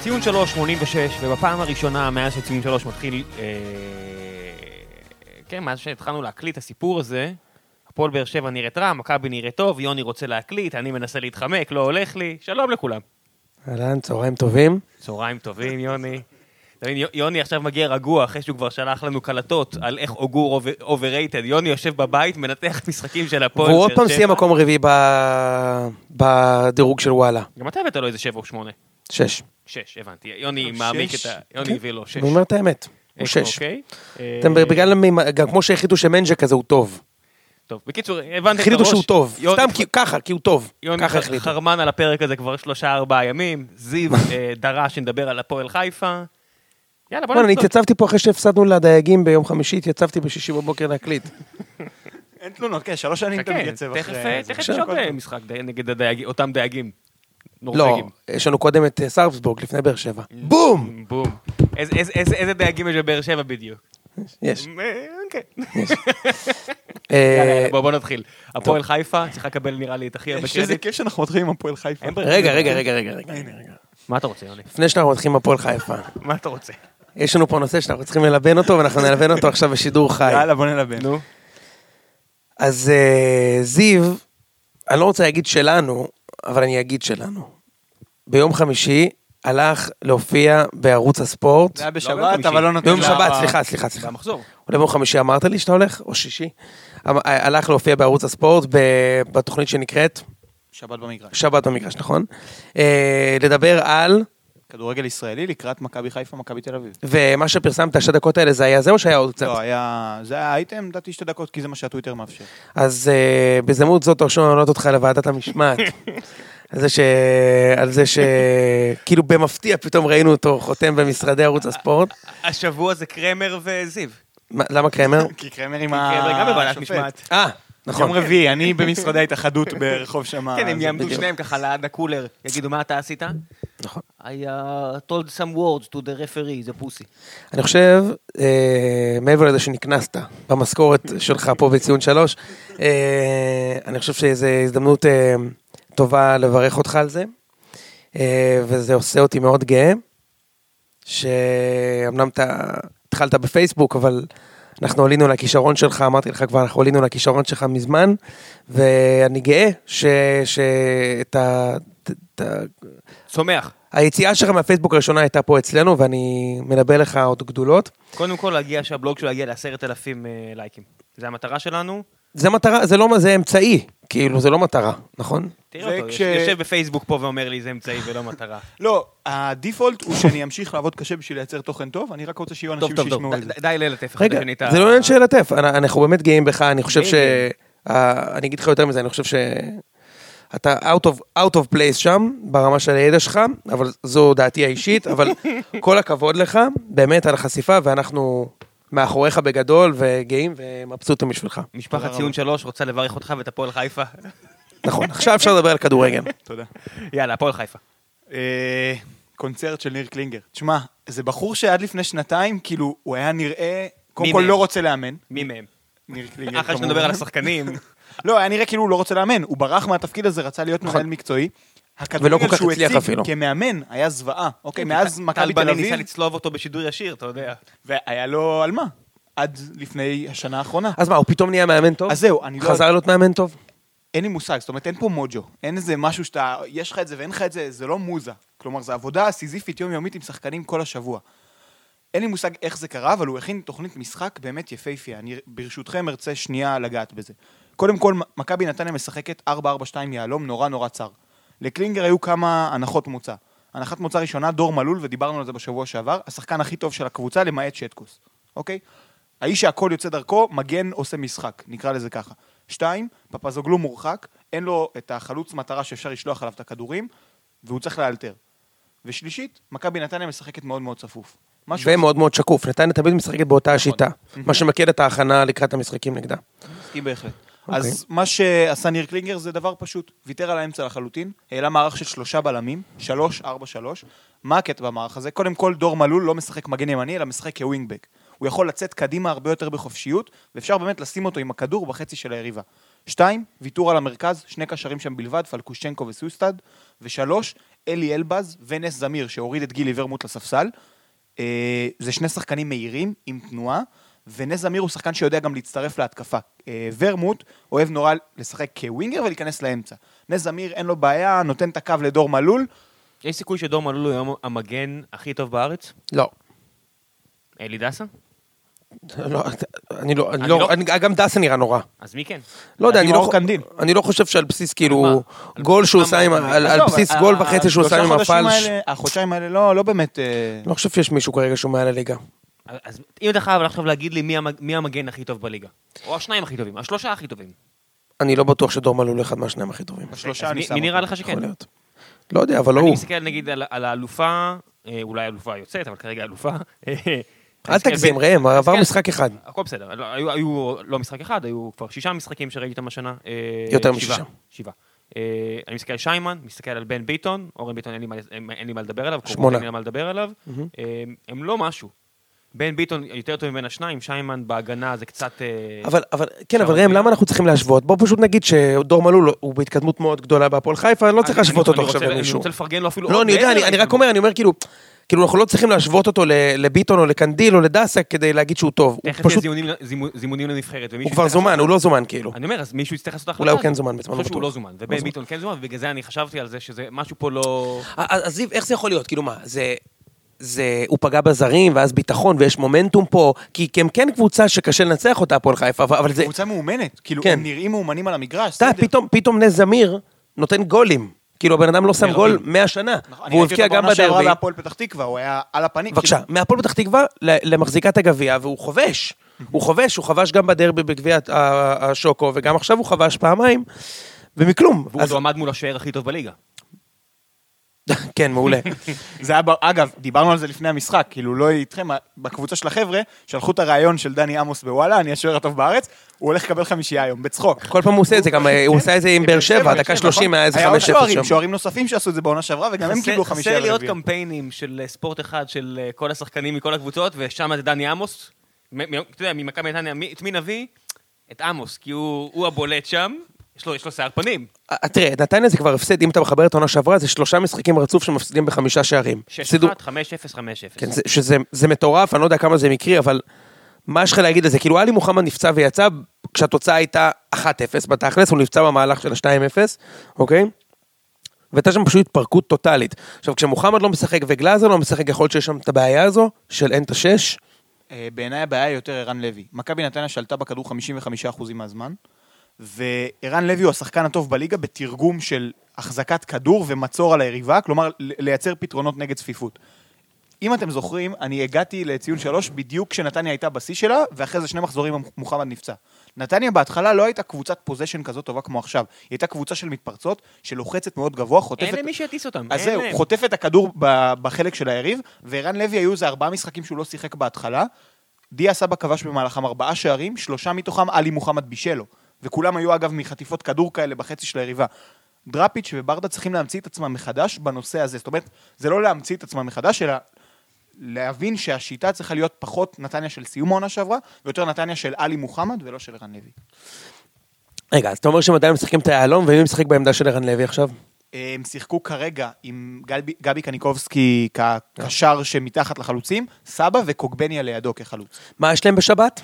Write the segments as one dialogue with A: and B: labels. A: ציון 3, 86, ובפעם הראשונה מאז שציון 3 מתחיל, אה, כן, מאז שהתחלנו להקליט את הסיפור הזה, הפועל באר שבע נראית רע, מכבי נראית טוב, יוני רוצה להקליט, אני מנסה להתחמק, לא הולך לי, שלום לכולם.
B: אהלן, צהריים טובים.
A: צהריים טובים, יוני. אתה מבין, יוני עכשיו מגיע רגוע, אחרי שהוא כבר שלח לנו קלטות על איך אוגור אוברייטד. יוני יושב בבית, מנתח משחקים של הפועל.
B: והוא עוד
A: באר
B: פעם
A: שבע.
B: סיים מקום רביעי ב- בדירוג של וואלה.
A: גם אתה הבאת לו איזה שבע או שמונה.
B: שש. כן.
A: שש, הבנתי. יוני מעמיק את ה... יוני הביא לו שש.
B: אני אומר את האמת, הוא
A: אה,
B: שש.
A: אוקיי.
B: אתם
A: אה,
B: בגלל, המימ- גם כמו שהחליטו שמנג'ה כזה הוא טוב.
A: טוב, בקיצור, הבנתם את הראש.
B: החליטו שהוא טוב.
A: יוני-
B: סתם כי- ככה, כי הוא טוב.
A: יוני
B: ככה
A: ח-
B: החליטו.
A: חרמן על הפרק הזה כבר שלושה-ארבעה ימים. זיו אה, דרש שנדבר על הפועל חיפה. יאללה, בוא
B: בוא'נה, אני
A: נצלול.
B: התייצבתי פה אחרי שהפסדנו לדייגים ביום חמישי, התייצבתי בשישי בבוקר להקליט.
A: אוקיי.
C: אין תלונות, כן, שלוש שנים אתה
A: כן,
C: מתייצב
A: תכף
C: אחרי...
A: אה,
C: זה.
A: תכף
C: הכל
A: יש עוד
C: טוב.
A: אה, משחק די- נגד הדייגים- אותם דייגים.
B: לא,
A: נורבגים.
B: יש לנו קודם את אה, סרפסבורג לפני באר שבע. בום!
A: בום. איזה- איזה- איזה איזה דייגים יש בבאר שבע בדיוק?
B: יש.
A: אה, אוקיי.
B: אה,
A: יאללה, בוא בוא נתחיל. הפועל חיפה צריכה לקבל נראה לי את הכי הרבה
C: יש איזה
A: קרדיט.
C: כיף שאנחנו מתחילים עם הפועל חיפה.
A: אין ברירה.
B: רגע, רגע, רגע, רגע. רגע.
A: מה אתה רוצה, יוני?
B: לפני שאנחנו מתחילים עם הפועל חיפה,
A: מה אתה רוצה?
B: יש לנו פה נושא שאנחנו צריכים ללבן אותו, ואנחנו נלבן אותו עכשיו בשידור חי.
C: יאללה, בוא נלבן.
A: נו.
B: אז אה, זיו, אני לא רוצה להגיד שלנו, אבל אני אגיד שלנו. ביום חמישי הלך להופיע בערוץ הספורט.
C: זה היה
A: לא ביום
C: בשבת,
A: חמישי.
C: אבל לא נותן...
B: ביום
C: לה-
B: שבת, סליחה, סליחה, סליחה.
A: במחזור.
B: אולי ביום חמישי אמרת לי שאתה הולך, או שישי. אמ- הלך להופיע בערוץ הספורט ב- בתוכנית שנקראת
C: שבת במגרש.
B: שבת במגרש, נכון? אה, לדבר על,
C: כדורגל ישראלי לקראת מכבי חיפה, מכבי תל אביב.
B: ומה שפרסמת, השתי דקות האלה, זה היה זה או שהיה עוד קצת?
C: לא, היה... זה היה אייטם, לדעתי שתי דקות, כי זה מה שהטוויטר מאפשר.
B: אז אה, בהזדמנות זאת תרשו לנו להעלות אותך לוועדת המשמעת. על זה ש... על זה ש... כאילו במפתיע פתאום ראינו אותו חותם במשרדי ערוץ הספורט.
A: השבוע זה קרמר וזיו.
B: מה, למה קרמר?
C: כי קרמר עם
A: קרמר גם בוועדת משמעת.
B: אה,
C: יום
B: נכון.
C: רביעי, אני במשרדי ההתאחדות ברחוב שמה.
A: כן, הם
C: זה
A: יעמדו
C: בדיוק.
A: שניהם ככה ליד הקולר, יגידו, מה אתה עשית?
B: נכון.
A: I uh, told some words to the referee, זה פוסי.
B: אני חושב, אה, מעבר לזה שנקנסת במשכורת שלך פה בציון שלוש, אה, אני חושב שזו הזדמנות אה, טובה לברך אותך על זה, אה, וזה עושה אותי מאוד גאה, שאמנם אתה התחלת בפייסבוק, אבל אנחנו עלינו לכישרון שלך, אמרתי לך כבר, אנחנו עלינו לכישרון שלך מזמן, ואני גאה שאת ה... את ה-
A: צומח.
B: היציאה שלך מהפייסבוק הראשונה הייתה פה אצלנו, ואני מנבא לך עוד גדולות.
A: קודם כל, להגיע שהבלוג שלו יגיע לעשרת אלפים אה, לייקים. זה המטרה שלנו.
B: זה מטרה, זה לא, זה אמצעי, כאילו, זה לא מטרה, נכון?
A: תראה
C: זה
A: אותו,
C: כש-
A: יושב בפייסבוק פה ואומר לי, זה אמצעי ולא מטרה.
C: לא, הדיפולט הוא שאני אמשיך לעבוד קשה בשביל לייצר תוכן טוב, אני רק רוצה שיהיו
A: טוב,
C: אנשים
A: טוב, טוב,
C: שישמעו את
A: ד-
C: זה.
A: ד- די ללטף אחד
B: רגע,
A: לשני את ה-
B: זה לא עניין של לטף, אנ- אנחנו באמת גאים בך, אני חושב ש...
A: גאים,
B: אה, אני אגיד לך יותר מזה, אני חושב ש... אתה out of, out of place שם, ברמה של הידע שלך, אבל זו דעתי האישית, אבל כל הכבוד לך, באמת על החשיפה, ואנחנו מאחוריך בגדול, וגאים ומבסוטים בשבילך.
A: משפחת ציון שלוש רוצה לברך אותך ואת הפועל חיפה.
B: נכון, עכשיו אפשר לדבר על כדורגל.
C: תודה.
A: יאללה, הפועל חיפה.
C: אה, קונצרט של ניר קלינגר. תשמע, זה בחור שעד לפני שנתיים, כאילו, הוא היה נראה, קודם
A: מי
C: כל
A: מהם?
C: לא רוצה לאמן.
A: מי מהם?
C: ניר קלינגר,
A: אחרי שאתה
C: כמובן.
A: מדבר על השחקנים.
C: לא, היה נראה כאילו הוא לא רוצה לאמן. הוא ברח מהתפקיד הזה, רצה להיות
A: נכון.
C: מנהל מקצועי.
B: ולא כל
C: הכדורגל
B: כך
C: שהוא
B: הצליח
C: הציג
B: אפילו.
C: כמאמן היה זוועה. אוקיי, מאז מכבי תל
A: כן, טל בני ניסה
C: אביב,
A: לצלוב אותו בשידור ישיר, אתה יודע.
C: והיה לו על מה? עד לפני השנה האחרונה.
B: אז מה, הוא פתאום נהיה מאמן טוב?
C: אז זהו, אני לא...
B: חזר להיות מאמן טוב?
C: אין לי מושג, זאת אומרת, אין פה מוג'ו. אין איזה משהו שאתה... יש לך את זה ואין לך את זה, זה לא מוזה. כלומר, זו עבודה סיזיפית יומיומית עם שחקנים כל השבוע. אין לי מושג איך זה קרה, אבל הוא הכין תוכנית משחק באמת יפהפייה. אני ברשותכם ארצה שנייה לגעת בזה. קודם כל, מ- מכבי נתניה משחקת 4-4-2 יהלום נורא נורא צר. לקלינגר היו כמה הנחות מוצא. הנחת מוצא ראשונה, דור מלול, ודיברנו על זה בשבוע שעבר, השחקן הכי טוב של הקבוצה, למעט שטקוס, אוקיי? האיש שהכל יוצא דרכו, מגן עושה משחק, נקרא לזה ככה. שתיים, פפזוגלו מורחק, אין לו את החלוץ מטרה שאפשר לשלוח עליו את הכדורים, והוא צריך לאלתר. ושלישית, מכבי נתניה משחקת מאוד מאוד צפוף. משהו נכון.
B: ומאוד מאוד שקוף. נתניה תמיד משחקת באותה השיטה, מה שמקל את ההכנה לקראת המשחקים נגדה.
C: מסכים בהחלט.
B: אוקיי.
C: אז מה שעשה ניר קלינגר זה דבר פשוט, ויתר על האמצע לחלוטין, העלה מערך של שלושה בלמים, שלוש, ארבע, שלוש. מה הקטע במערך הזה? קודם כל, דור מלול לא משחק מגן ימני, אלא משחק כווינגבק. הוא יכול לצאת קדימה הרבה יותר בחופשיות, ואפשר באמת לשים אותו עם הכדור בחצי של היריבה. שתיים, ויתור על המרכז, שני קשרים שם בלבד, פלקושצ'נקו וסוסטד. ושלוש, אלי אלבז ונס זמיר, שהוריד את גילי ורמוט לספסל. אה, זה שני שחקנים מהירים, עם תנועה, ונס זמיר הוא שחקן שיודע גם להצטרף להתקפה. אה, ורמוט אוהב נורא לשחק כווינגר ולהיכנס לאמצע. נס זמיר, אין לו בעיה, נותן את הקו לדור מלול.
A: יש סיכוי שדור מלול הוא היום המגן הכי טוב בארץ?
B: לא.
A: אלי דסה?
B: לא, אני לא, אני
A: אני
B: לא,
A: לא-
B: אני- גם דסה נארה נורא.
A: אז מי כן?
B: לא יודע,
C: לדעתי
B: אני לא,
C: מאור קנדין.
B: אני לא חושב שעל בסיס
A: מה?
B: כאילו גול שהוא
A: מה-
B: עושה עם,
A: מה-
B: על על
C: עזוב,
B: בסיס
C: ה-
B: גול
C: ה-
B: וחצי שהוא עושה
C: שלושה
B: עם
C: חודשים
B: הפלש.
C: האלה- החודשיים האלה לא לא באמת... אה,
B: לא חושב שיש מישהו כרגע שהוא מעל הליגה.
A: אז- אז אם אתה חייב עכשיו להגיד לי מי המג- מי המגן הכי טוב בליגה. או השניים הכי טובים, השלושה הכי טובים.
B: אני לא בטוח שדור מלול אחד מהשניים הכי טובים.
C: בשלושה
A: אז
C: אני כן.
A: מי-
C: שם
A: מי נראה
C: אותו.
A: לך שכן?
B: יכול להיות. לא יודע, אבל לא
A: אני
B: הוא.
A: מסתכל נגיד על, על האלופה, אה, אולי האלופה אה, היוצאת, אבל כרגע אלופה.
B: אל תגזים, ראם, עבר משחק אחד.
A: הכל בסדר, לא, היו, היו לא משחק אחד, היו כבר שישה משחקים שראיתי אותם השנה. אה,
B: יותר
A: שבעה,
B: משישה.
A: שבעה. אה, אני מסתכל על שיימן, מסתכל על בן ביטון, אורן ביטון אין לי מה, אין, אין לי מה לדבר עליו, קורבן,
B: שמונה.
A: אין לי מה לדבר עליו, אה, הם לא משהו. בן ביטון יותר טוב מבין השניים, שיימן בהגנה זה קצת... אה,
B: אבל, אבל, כן, אבל
A: אפשר-
B: ראם, למה אנחנו צריכים להשוות? בוא פשוט נגיד שדור מלול הוא בהתקדמות מאוד גדולה בהפועל חיפה, אני לא
A: אני-
B: צריך להשוות
A: אני
B: אותו
A: רוצה-
B: עכשיו
A: אני
B: למישהו.
A: רוצה לפרגן לו אפילו...
B: לא,
A: עוד
B: אני יודע,
A: מעבר
B: אני אני רק
A: להתקדמות.
B: אומר, אני אומר כאילו, כאילו אנחנו לא צריכים להשוות אותו ל- לביטון או לקנדיל או לדסה כדי להגיד שהוא טוב. הוא
A: תכף יש
B: פשוט,
A: זימונים- זימו- זימונים לנבחרת. ומישהו
B: הוא כבר
A: יצטרך לעשות
B: זומן, הוא לא זומן כאילו.
A: אני אומר, אז מישהו יצטרך לעשות החלטה.
B: אולי הוא
A: הזאת.
B: כן זומן בזמן,
A: אני חושב
B: לא
A: שהוא לא
B: בטוח.
A: זומן, ובן ביטון כן זומן, ובגלל זה אני חשבתי על זה שזה משהו פה לא...
B: אז אז זיו, איך זה יכול להיות? כאילו מה, זה... זה, הוא פגע בזרים, ואז ביטחון, ויש מומנטום פה, כי כי הם כן קבוצה שקשה לנצח אותה, הפועל חיפה, אבל- אבל זה,
C: קבוצה מאומנת, כאילו,
B: כן.
C: הם נראים מאומנים על המגרש.
B: אתה יודע,
C: בסדר.
B: פתאום, פתאום נס זמיר נותן גולים. כאילו, הבן אדם לא שם
A: מרבים.
B: גול 100 שנה.
C: נכון, אני
B: והוא
C: ראיתי
B: הבקיע
C: אותו
B: גם
C: בעונה שעברה
B: בדרבי.
C: בהפועל פתח תקווה, הוא היה על הפנים.
B: בבקשה,
C: כאילו,
B: מהפועל פתח תקווה ל- למחזיקת הגביע, והוא חובש. הוא חובש, הוא חבש גם בדרבי בגביע ה- ה- השוקו, וגם עכשיו הוא חבש פעמיים, ומכלום.
A: והוא
B: אז-
A: עוד עמד מול השוער הכי טוב בליגה.
B: כן, מעולה.
C: זה היה, ב- אגב, דיברנו על זה לפני המשחק, כאילו לא איתכם, בקבוצה של החבר'ה, שלחו את הריאיון של דני עמוס בוואלה, אני השוער הטוב בארץ, הוא הולך לקבל חמישייה היום, בצחוק.
B: כל פעם הוא עושה את זה, גם אה, הוא עושה את זה עם באר שבע, דקה
A: נכון?
B: 30 היה איזה
C: כן, היה עוד
B: 5-0
C: שוערים,
B: שם.
C: שוערים נוספים שעשו את זה בעונה שעברה, וגם הם
A: חסר-
C: קיבלו
A: חסר
C: חמישייה
A: לי עוד
C: לרביעי.
A: קמפיינים של אה, ספורט אחד של אה, כל השחקנים מכל הקבוצות, ושם זה דני עמוס. מ- מ- אתה יודע, ממכבי נתניה, מי- את מי נביא? את עמוס, כי הוא הוא הבולט שם, יש לו- יש לו שיער פנים.
B: אה, תראה, נתניה זה כבר הפסד, אם אתה מחבר את העונה שעברה, זה שלושה משחקים רצוף שמפסידים בחמישה שערים.
A: 6-1,
B: הפסידו-
A: 5-0, 5-0.
B: כן, זה, שזה זה מטורף, אני לא יודע כמה זה מקרי, אבל מה יש לך להגיד על זה? כאילו, עלי מוחמד נפצע ויצא, כשהתוצאה הייתה 1-0 בתכלס, הוא נפצע במהלך של ה-2-0, אוקיי? והייתה שם פשוט התפרקות טוטאלית. עכשיו, כשמוחמד לא משחק וגלאזר לא משחק, יכול להיות שיש שם את הבעיה הזו של אין את השש.
C: אה, בעיניי הבעיה היא יותר ערן לוי. מכבי נתניה שלטה בכדור 55% מהזמן, וערן לוי הוא השחקן הטוב בליגה בתרגום של החזקת כדור ומצור על היריבה, כלומר, ל- לייצר פתרונות נגד צפיפות. אם אתם זוכרים, אני הגעתי לציון שלוש בדיוק כשנתניה הייתה בשיא שלה, ואחרי זה שני מחזורים מוחמד נפצע. נתניה בהתחלה לא הייתה קבוצת פוזיישן כזאת טובה כמו עכשיו. היא הייתה קבוצה של מתפרצות, שלוחצת מאוד גבוה, חוטפת...
A: אין למי שיטיס אותם.
C: אז
A: אין
C: זהו,
A: להם.
C: חוטף את הכדור ב- בחלק של היריב, וערן לוי היו איזה ארבעה משחקים שהוא לא שיחק בהתחלה. דיה סבא כבש במהלכם ארבעה שערים, שלושה מתוכם עלי מוחמד בישל לו. וכולם היו אגב מחטיפות כדור כאלה בחצי של היריבה. דראפיץ' וברדה צריכים להמציא את עצמם מחדש בנושא הזה. זאת אומרת, זה לא להמציא את עצמם מחדש, אלא להבין שהשיטה צריכה להיות פחות נתניה של סיום העונה שעברה, ויותר נתניה של עלי מוחמד ולא של ערן לוי.
B: רגע, אז אתה אומר שהם עדיין משחקים את היהלום, ומי משחק בעמדה של ערן לוי עכשיו?
C: הם שיחקו כרגע עם גלבי, גבי קניקובסקי
B: כן.
C: כקשר שמתחת לחלוצים, סבא וקוגבניה לידו כחלוץ.
B: מה יש להם בשבת?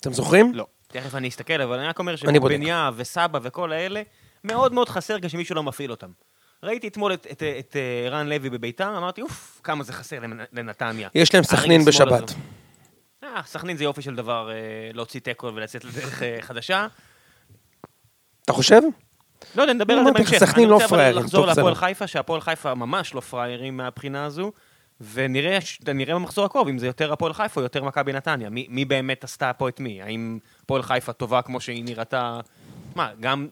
B: אתם זוכרים?
C: לא.
A: תכף אני אסתכל, אבל אני רק אומר
B: אני בודק.
A: שבניה וסבא וכל האלה, מאוד מאוד חסר כשמישהו לא מפעיל אותם. ראיתי אתמול את- את- את אה, רן לוי בביתר, אמרתי, אוף, כמה זה חסר לנ- לנתניה.
B: יש להם
A: הרגל
B: סכנין
A: שמאל
B: בשבת.
A: הזה. אה, סכנין זה יופי של דבר אה, להוציא תיקו ולצאת לדרך אה, חדשה.
B: אתה חושב?
A: לא יודע, נדבר על זה
B: אמרתי לך,
A: בהמשך.
B: סכנין לא
A: אני רוצה
B: פראיירים,
A: אבל לחזור
B: טוב, בסדר.
A: להפועל חיפה, שהפועל חיפה ממש לא פראיירים מהבחינה הזו, ונראה ש- נראה במחזור הקרוב אם זה יותר הפועל חיפה או יותר מכבי נתניה. מי מי באמת עשתה פה את מי? האם הפועל חיפה טובה כמו שהיא נראתה... מה, גם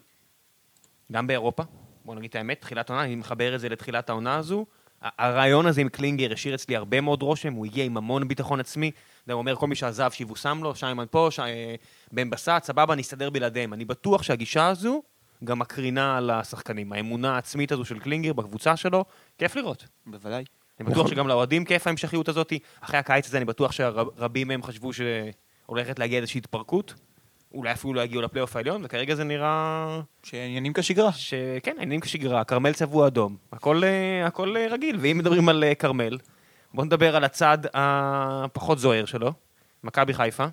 A: גם באירופה, בוא נגיד את האמת, תחילת העונה, אני מחבר את זה לתחילת העונה הזו. ה- הרעיון הזה עם קלינגר השאיר אצלי הרבה מאוד רושם, הוא הגיע עם המון ביטחון עצמי. אתה יודע, הוא אומר, כל מי שעזב, שיבושם לו, שיימן פה, ש... אה, בן בסט, סבבה, נסתדר בלעדיהם. אני בטוח שהגישה הזו גם מקרינה על השחקנים. האמונה העצמית הזו של קלינגר בקבוצה שלו, כיף לראות.
C: בוודאי.
A: אני בטוח שגם לאוהדים כיף ההמשכיות הזאת. אחרי הקיץ הזה אני בטוח שרבים מהם חשבו שהולכת להגיע איזושהי התפרקות. הוא אולי אפילו לא יגיעו לפלייאוף העליון, וכרגע זה נראה
C: שעניינים כשגרה.
A: שכן, העניינים כשגרה, כרמל צבוע אדום, הכל, אה, הכל אה, רגיל. ואם מדברים על אה, כרמל, בואו נדבר על הצד הפחות זוהר שלו, מכבי חיפה.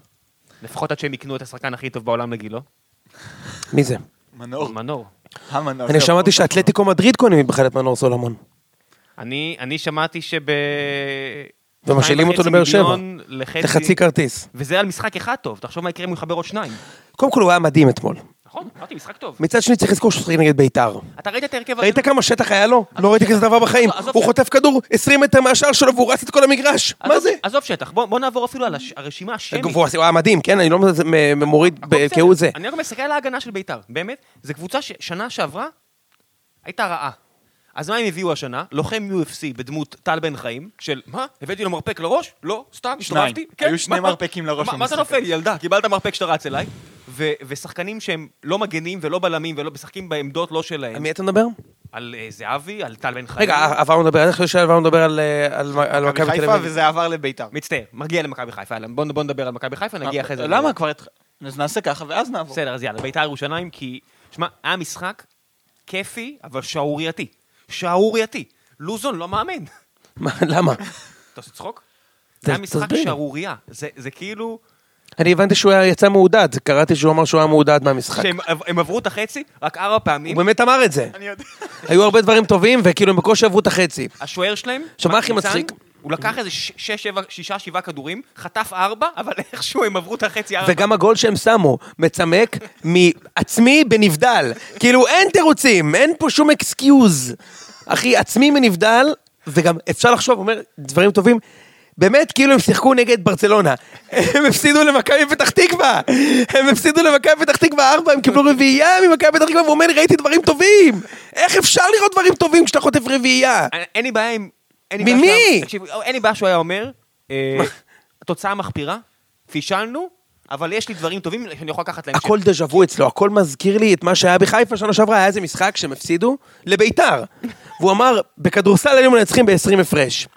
A: לפחות עד שהם יקנו את השחקן הכי טוב בעולם לגילו,
B: מי זה?
C: מנור.
A: מנור.
C: המנור. אוקיי.
B: אני
C: זה
B: שמעתי
C: הפורט.
B: שאתלטיקו מדריד קונים בכלל את מנור סולומון.
A: אני, אני שמעתי שב...
B: ומשאילים אותו לבאר שבע.
A: מיליון לחצי-
B: לחצי כרטיס.
A: וזה על משחק אחד טוב, תחשוב מה יקרה אם הוא יחבר עוד שניים.
B: קודם כל הוא היה מדהים אתמול.
A: נכון, אמרתי, משחק טוב.
B: מצד שני צריך לזכור שהוא שחק נגד ביתר.
A: אתה ראית את ההרכב...
B: ראית כמה שטח היה לו? לא ראיתי כזה דבר בחיים.
A: עזוב,
B: הוא
A: עזוב.
B: חוטף כדור 20 מטר מהשער שלו והוא רץ את כל המגרש.
A: עזוב- אה,
B: מה זה?
A: עזוב שטח, בוא בוא נעבור אפילו על הש- הרשימה השמית.
B: הוא היה מדהים, כן? אני לא מ- מ- מוריד
A: הכל
B: ב-
A: בסדר.
B: כהוא זה.
A: אני רק מסתכל על ההגנה של ביתר, באמת. זו קבוצה ששנה שעברה הייתה רעה. אז מה הם הביאו השנה? לוחם UFC בדמות טל בן חיים, של מה? הבאתי לו מרפק לראש? לא, סתם,
C: שניים.
A: הסתובבתי.
C: היו שני
A: מה-
C: מרפקים לראש
A: מה- מה אתה
C: במשחק.
A: נופל, ילדה? קיבלת מרפק שאתה רץ אליי. ו- ושחקנים שהם לא מגנים ולא בלמים ולא משחקים בעמדות לא
B: על
A: שלהם.
B: מי אתה מדבר?
A: על אה, זהבי, על טל בן חיים.
C: אה,
B: רגע, אה, עברנו לדבר, אני חושב שעברנו לדבר על, אה, על- על מכבי תל
C: חיפה
B: אביב.
C: וזה עבר לביתר.
A: מצטער, מגיע למכבי חיפה. יאללה, בוא בוא נדבר על מכבי חיפה, נגיע אחרי זה.
C: אה, למה כבר... התח- אז נעשה ככה ואז נעבור.
A: בסדר, אז יאללה, ביתר ירושלים, כי... שמע, היה משחק כיפי, אבל שערורייתי. שערורייתי. לוזון לא מאמן.
B: מה, למה?
A: אתה עושה צחוק?
B: ת-
A: זה היה משחק
B: תסביר.
A: שערורייה. זה זה כאילו...
B: אני הבנתי שהוא היה- יצא מעודד, קראתי שהוא אמר שהוא היה מעודד מהמשחק.
A: שהם הם עברו את החצי רק ארבע פעמים.
B: הוא באמת אמר את זה.
C: אני יודע.
B: היו הרבה דברים טובים, וכאילו הם בקושי עברו את החצי.
A: השוער שלהם...
B: עכשיו, מה הכי
A: ניצן,
B: מצחיק?
A: הוא לקח איזה ש- שש, שבע, שישה, שבעה כדורים, חטף ארבע, אבל איכשהו הם עברו את החצי ארבע.
B: וגם הגול שהם שמו, מצמק מעצמי בנבדל. כאילו, אין תירוצים, אין פה שום אקסקיוז. אחי, עצמי מנבדל, וגם אפשר לחשוב, אומר, דברים טובים. באמת, כאילו הם שיחקו נגד ברצלונה. הם הפסידו למכבי פתח תקווה! הם הפסידו למכבי פתח תקווה ארבע, הם קיבלו רביעייה ממכבי פתח תקווה, והוא אומר לי, ראיתי דברים טובים! איך אפשר לראות דברים טובים כשאתה חוטף רביעייה?
A: אין- אה, אין לי בעיה עם... אין לי
B: ממי?
A: בעיה שהוא היה- תקשיב, אין לי בעיה שהוא היה אומר, אה, התוצאה מחפירה, פישלנו, אבל יש לי דברים טובים שאני יכול לקחת להם.
B: הכל דז'ה וו אצלו, הכל מזכיר לי את מה שהיה בחיפה שנה שעברה, היה איזה משחק שהם הפסידו לביתר. והוא אמר, בכדורסל היינו מנצחים ב-20 הפרש.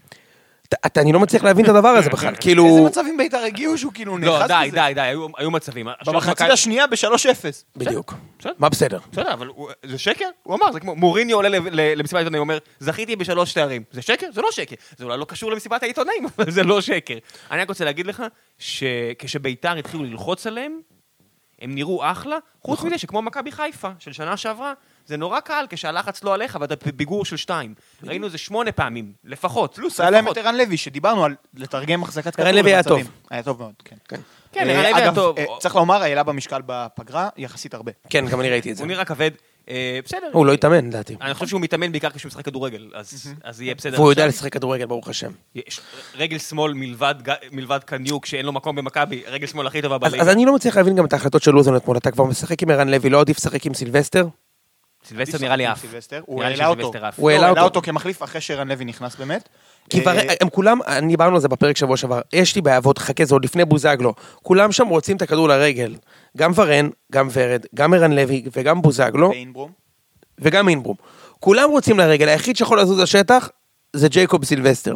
B: אתה- אתה, אני לא מצליח להבין את הדבר הזה בכלל,
C: איזה
B: כאילו...
C: מצב עם ביתר הגיעו שהוא כאילו נאחז
A: לא,
C: בזה?
A: די, די, די, היו- היו מצבים. עכשיו
C: במחצית
A: מכבי-
C: השנייה ב-3-0.
B: בדיוק.
A: בסדר.
B: מה בסדר?
A: בסדר, אבל הוא- זה שקר? הוא אמר, זה כמו מוריניו עולה ל- ל- למסיבת העיתונאים, הוא אומר, זכיתי בשלוש תארים. זה שקר? זה לא שקר. זה אולי לא קשור למסיבת העיתונאים, אבל זה לא שקר. אני רק רוצה להגיד לך, שכשביתר התחילו ללחוץ עליהם, הם נראו אחלה, חוץ
C: נכון.
A: מזה שכמו מכבי חיפה של שנה שעברה, זה נורא קל כשהלחץ לא עליך ואתה בפיגור של שתיים. ראינו את זה שמונה פעמים, לפחות.
C: פלוס היה להם את
A: לפחות.
C: ערן לוי, שדיברנו על לתרגם החזקת כדור
B: ערן לוי היה
C: למצבים.
B: טוב.
C: היה טוב מאוד, כן.
A: כן,
C: אה,
A: ערן לוי היה
C: אגב,
A: טוב.
C: אה, צריך לומר, העלה במשקל בפגרה יחסית הרבה.
B: כן, גם אני ראיתי את זה.
A: הוא נראה אה, כבד. אה, בסדר.
B: הוא לא התאמן, לדעתי.
A: אני חושב שהוא מתאמן בעיקר כשהוא משחק כדורגל, אז אז יהיה בסדר.
B: והוא יודע
A: עכשיו-
B: לשחק כדורגל, ברוך השם.
A: יש רגל שמאל מלבד, ג- מלבד קניוק, שאין לו מקום במכבי, רגל שמאל הכי טובה
B: אז
A: בליגה.
B: אז אני לא מצליח להבין גם את ההחלטות של לוזון אתמול. אתה כבר משחק עם ערן לוי, לא עדיף לשחק עם סילבסטר?
A: סילבסטר נראה לי עף.
C: סילבסטר, הוא
A: נראה לי
C: העלה
A: שסילבסטר
C: אותו.
A: עף.
B: הוא
C: לא,
B: העלה
C: העלה
B: אותו.
C: אותו כמחליף אחרי שערן לוי נכנס באמת.
B: כי כבר,
C: אה,
B: הם כולם, אני דיברנו על זה בפרק שבוע שעבר, יש לי בעיה, ועוד חכה, זה עוד לפני בוזגלו. כולם שם רוצים את הכדור לרגל. גם ורן, גם ורד, גם ערן לוי וגם בוזגלו,
C: ואינברום.
B: וגם אינברום. כולם רוצים לרגל, היחיד שיכול לזוז לשטח זה ג'ייקוב סילבסטר.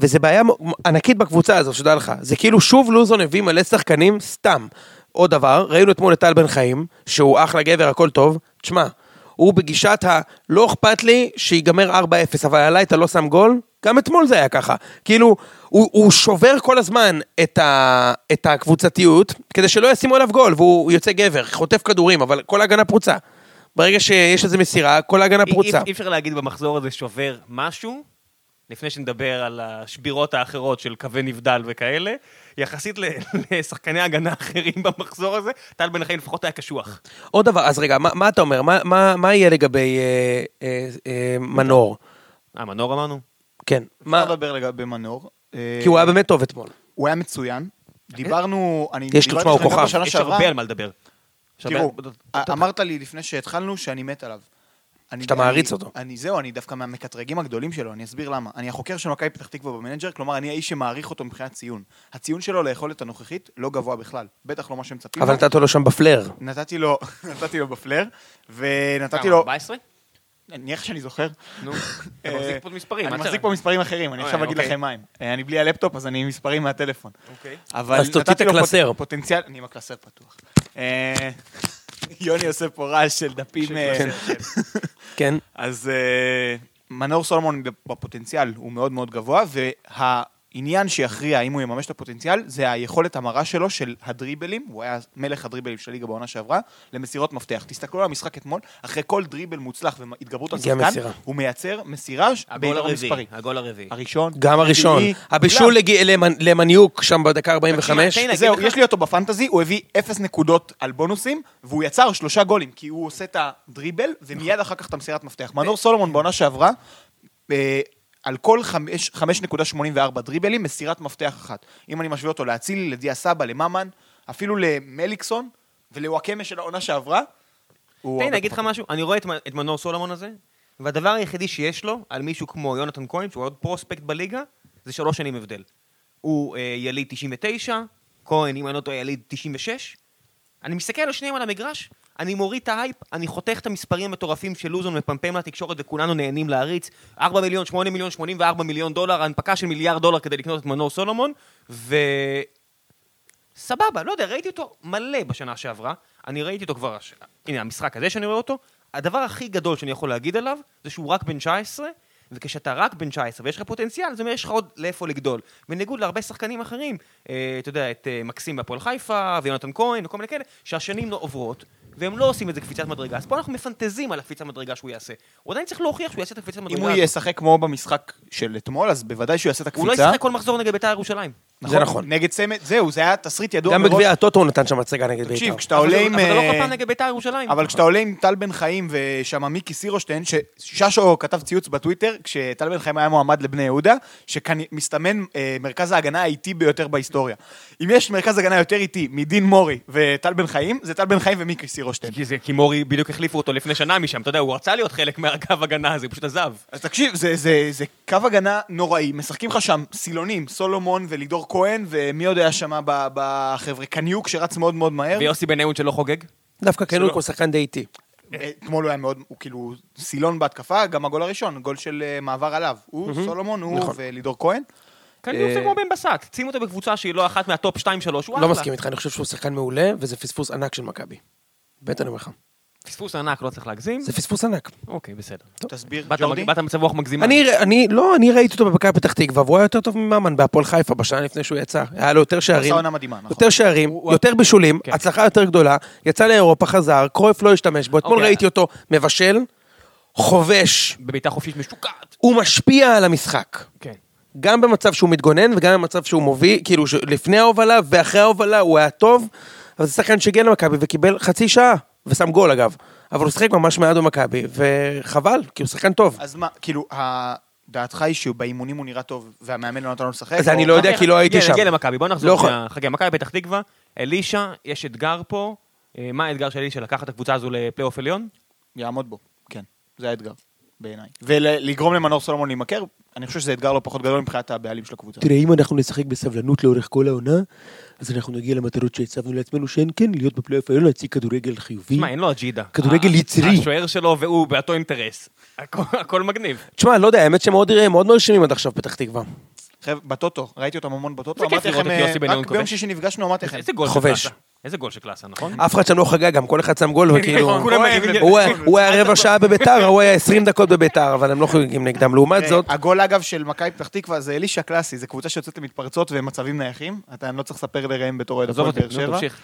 B: וזה בעיה מ- ענקית בקבוצה הזו, שתדע לך. זה כאילו שוב לוזון הביא מלא שחקנים, סתם. עוד דבר, ראינו אתמול את טל בן חיים, שהוא אחלה גבר, הכל טוב. תשמע, הוא בגישת ה... לא אכפת לי שיגמר 4-0, אבל עליי אתה לא שם גול? גם אתמול זה היה ככה. כאילו, הוא, הוא שובר כל הזמן את, ה, את הקבוצתיות, כדי שלא ישימו עליו גול, והוא יוצא גבר, חוטף כדורים, אבל כל ההגנה פרוצה. ברגע שיש איזו מסירה, כל ההגנה
A: אי-
B: פרוצה.
A: אי- אי אפשר להגיד במחזור הזה שובר משהו, לפני שנדבר על השבירות האחרות של קווי נבדל וכאלה, יחסית ל- לשחקני הגנה אחרים במחזור הזה, טל בן חיים לפחות היה קשוח.
B: עוד דבר, אז רגע, מה, מה אתה אומר? מה, מה, מה יהיה לגבי אה, אה, אה, מנור?
A: אה, מנור אמרנו?
B: כן.
C: מה
B: מה,
C: לדבר לגבי מנור? אה,
B: כי הוא היה באמת טוב אתמול.
C: הוא היה מצוין. דיברנו, אני
B: יש לו,
C: דיברתי
B: תשמע, הוא
C: איתכם גם
B: כוכב.
C: בשנה
A: יש
C: שעברה.
A: הרבה על מה לדבר. יש הרבה-
C: תראו, אמרת לי לפני שהתחלנו שאני מת עליו. אני-
B: שאתה מעריץ
C: אני-
B: אותו.
C: אני זהו, אני דווקא מהמקטרגים הגדולים שלו, אני אסביר למה. אני החוקר של מכבי פתח תקווה במנג'ר, כלומר, אני האיש שמעריך אותו מבחינת ציון. הציון שלו ליכולת הנוכחית לא גבוה בכלל. בטח לא מה שמצפים
B: אבל
C: לו.
B: נתת לו שם בפלר.
C: נתתי לו, נתתי לו בפלר, ונתתי
A: כמה,
C: לו...
A: 14?
C: נניח שאני זוכר. אה,
A: נו, אתה מחזיק פה מספרים.
C: אני
A: מה
C: מחזיק
A: אתה-
C: פה מספרים אחרים, אני
A: אה,
C: עכשיו אגיד
A: אוקיי.
C: לכם מה הם. אה, אני בלי הלפטופ, אז אני עם מספרים מהטלפון.
A: אוקיי.
C: אבל
B: אז תוציא את
C: נתתי לו פוט-
B: הקלסר.
C: פוטנציאל, אני עם הקלסר פתוח. אה, יוני עושה פה רעש של דפים. אה,
B: כן.
C: אז אה, מנור סולומון בפוטנציאל הוא מאוד מאוד גבוה, והעניין שיכריע האם הוא יממש את הפוטנציאל זה היכולת המרה שלו של הדריבלים, הוא היה מלך הדריבלים של ליגה בעונה שעברה, למסירות מפתח. תסתכלו על המשחק אתמול, אחרי כל דריבל מוצלח והתגברות על
B: הגיעה
C: שחקן,
B: מסירה.
C: הוא מייצר מסירה ש-
A: הגול
C: בעירום
A: הרביעי,
C: מספרי.
A: הגול הרביעי.
C: הראשון,
B: גם הראשון.
C: השני,
B: הבישול לגי- למנ- למניוק שם בדקה 45.
A: תקשיב, תן לי-
C: זהו,
A: להגיד לך-
C: יש לי אותו בפנטזי, הוא הביא אפס נקודות על בונוסים, והוא יצר שלושה גולים, כי הוא עושה את הדריבל, ומיד אחר כך את המסירת מפתח. מנור סולומון בעונה שעברה, אה, על כל חמש- 5.84 דריבלים, מסירת מפתח אחת. אם אני משווה אותו לאצילי, לדיה סבא, לממן, אפילו למליקסון, ולוואקמה של העונה שעברה, הוא...
A: תן לי
C: הרבה
A: להגיד לך
C: פחות.
A: משהו, אני רואה את מ- את מנור סולומון הזה, והדבר היחידי שיש לו על מישהו כמו יונתן כהן, שהוא עוד פרוספקט בליגה, זה שלוש שנים הבדל. הוא אה, יליד 99, כהן, אם אני לא טועה, יליד 96. אני מסתכל על שניהם על המגרש, אני מוריד את ההייפ, אני חותך את המספרים המטורפים של לוזון מפמפם לתקשורת וכולנו נהנים להריץ. 4 מיליון, 8 מיליון, 84 מיליון דולר, הנפקה של מיליארד דולר כדי לקנות את מנור סולומון, ו... סבבה, לא יודע, ראיתי אותו מלא בשנה שעברה, אני ראיתי אותו כבר, הש- הנה המשחק הזה שאני רואה אותו, הדבר הכי גדול שאני יכול להגיד עליו, זה שהוא רק בן 19, וכשאתה רק בן 19 ויש לך פוטנציאל, זה אומר יש לך עוד לאיפה לגדול. בניגוד להרבה שחקנים אחרים, אה, אתה יודע, את אה, מקסים בהפועל חיפה, ויונתן כהן, וכל מיני כאלה, שהשנים לא עוברות, והם לא עושים איזה קפיצת מדרגה, אז פה אנחנו מפנטזים על הקפיצת מדרגה שהוא יעשה. הוא עדיין צריך להוכיח שהוא יעשה את הקפיצת מדרגה.
C: אם הוא
A: הזאת.
C: ישחק כמו במשחק של אתמול, אז בוודאי שהוא יעשה את
A: הוא לא
C: הקפיצה.
A: ישחק כל מחזור נגד בית"ר ירושלים.
B: זה נכון.
C: נגד צמד, זהו, זה היה תסריט ידוע
B: גם
C: מראש.
B: בגביע הטוטו הוא נתן שם הצגה נגד בית"ר.
C: תקשיב, כשאתה עולה עם...
A: אבל זה לא כל
C: אה,
A: פעם נגד בית"ר ירושלים.
C: אבל כשאתה עולה עם טל בן חיים ושם מיקי סירושטיין, שששו כתב ציוץ בטוויטר, כשטל בן חיים היה מועמד לבני יהודה, שמסתמן אה, מרכז ההגנה האיטי ביותר בהיסטוריה. אם יש מרכז הגנה יותר איטי מדין מורי וטל בן חיים, זה טל בן חיים ומיקי סירושטיין.
A: כי, זה, כי מורי בדיוק החליפו אותו לפני שנה משם, אתה יודע, הוא רצה להיות חלק מהקו הגנה הזה, הוא פשוט עזב.
C: אז תקשיב, זה, זה, זה קו הגנה נוראי, משחקים לך שם סילונים, סולומון ולידור כהן, ומי עוד היה שם ב- בחבר'ה? קניוק שרץ מאוד מאוד מהר.
A: ויוסי בניון שלא חוגג?
B: דווקא כן הוא
C: לא-
A: שלא.
B: כל שחקן די איטי.
C: אתמול הוא היה מאוד, הוא כאילו סילון בהתקפה, גם הגול הראשון, גול של אה, מעבר עליו. הוא, סולומון, הוא
B: נכון.
C: ולידור כהן.
A: כן,
C: אה,
A: הוא עושה כמו בן בסט, שים אותו בקבוצה שהיא לא אחת מהטופ 2-3, הוא אחלה.
B: לא מסכים איתך, אני חושב שהוא שחקן מעולה, וזה פספוס ענק של מכבי. באמת אני אומר לך.
A: פספוס ענק, לא צריך להגזים.
B: זה פספוס ענק.
A: אוקיי, בסדר.
C: תסביר,
A: באת-
C: ג'ורדי.
A: באת במצב רוח מגזימה.
B: אני, אני, לא, אני ראיתי אותו במכבי פתח תקווה, והוא היה יותר טוב מממן בהפועל חיפה בשנה לפני שהוא יצא. היה לו יותר שערים.
C: עשה עונה מדהימה, נכון. כן.
B: יותר שערים, יותר בישולים, הצלחה יותר גדולה, יצא לאירופה, חזר, קרויף לא השתמש בו. אתמול
A: אוקיי.
B: ראיתי אותו מבשל, חובש,
A: בבעיטה חופשית משוקעת.
B: הוא משפיע על המשחק.
A: כן.
B: גם במצב שהוא מתגונן וגם במצב שהוא מוביל, כאילו ש- לפני ההובלה ואחרי ההובלה הוא היה טוב, אבל זה שחקן שהגיע למכבי וקיבל חצי שעה, ושם גול אגב. אבל הוא שיחק ממש מעט במכבי, וחבל, כי הוא שחקן טוב.
C: אז מה, כאילו, ה- דעתך היא שבאימונים הוא נראה טוב, והמאמן לא נתן לו לשחק?
B: אז
C: או-
B: אני לא יודע,
A: אוקיי,
B: כי לא הייתי
A: נגיע-
B: שם.
A: נגיע למכבי, בוא
B: לא
A: נחזור.
B: יכול-
A: שנייה. חכה, מכבי פתח תקווה, אלישע, יש אתגר פה. אה, מה האתגר של אלישע? לקחת את הקבוצה הזו לפלייאוף עליון?
C: יעמוד בו, כן. זה האתגר, בעיניי. ולגרום למנור סולומון להימכר, אני חושב שזה אתגר לא פחות גדול מבחינת הבעלים של הקבוצה.
D: תראה, אם אנחנו נשחק בסבלנות לאורך כל העונה, אז אנחנו נגיע למטרות שהצבנו לעצמנו, שהן כן להיות בפלייאוף העליון, להציג כדורגל חיובי.
A: שמע, אין לו אג'ידה.
D: כדורגל
A: ה-
D: יצירי.
A: השוער שלו והוא באותו אינטרס. הכל- הכל מגניב.
B: תשמע, לא יודע, האמת שהם מאוד מאוד מרשימים עד עכשיו פתח תקווה.
C: חבר'ה, בטוטו, ראיתי אותם המון בטוטו,
A: זה כיף
C: אמרתי
A: לראות
C: לכם,
A: את יוסי
C: אה,
A: בניון
C: רק
A: כובש.
C: ביום שישי נפגשנו, אמרתי לכם,
A: איזה גול של
B: חובש.
A: קלאסה. איזה גול של קלאסה,
C: אה,
A: נכון?
B: אף אחד שם לא חגג, גם כל אחד שם גול, וכאילו...
A: כן, כולם
C: כהן,
A: מגיבים-
B: הוא היה- הוא היה רבע שעה בביתר, הוא היה 20 דקות בביתר, אבל הם לא חוגגים
A: כן,
B: נגדם. לעומת
C: אה,
B: זאת,
C: הגול אגב של מכבי פתח תקווה זה אלישע קלאסי, זו קבוצה שיוצאת למתפרצות ומצבים נייחים. אתה אני לא צריך לספר לראם בתור אוהד
A: עזוב
C: הפועל
A: אותי,
C: באר
A: נו,
C: שבע.
A: תמשיך.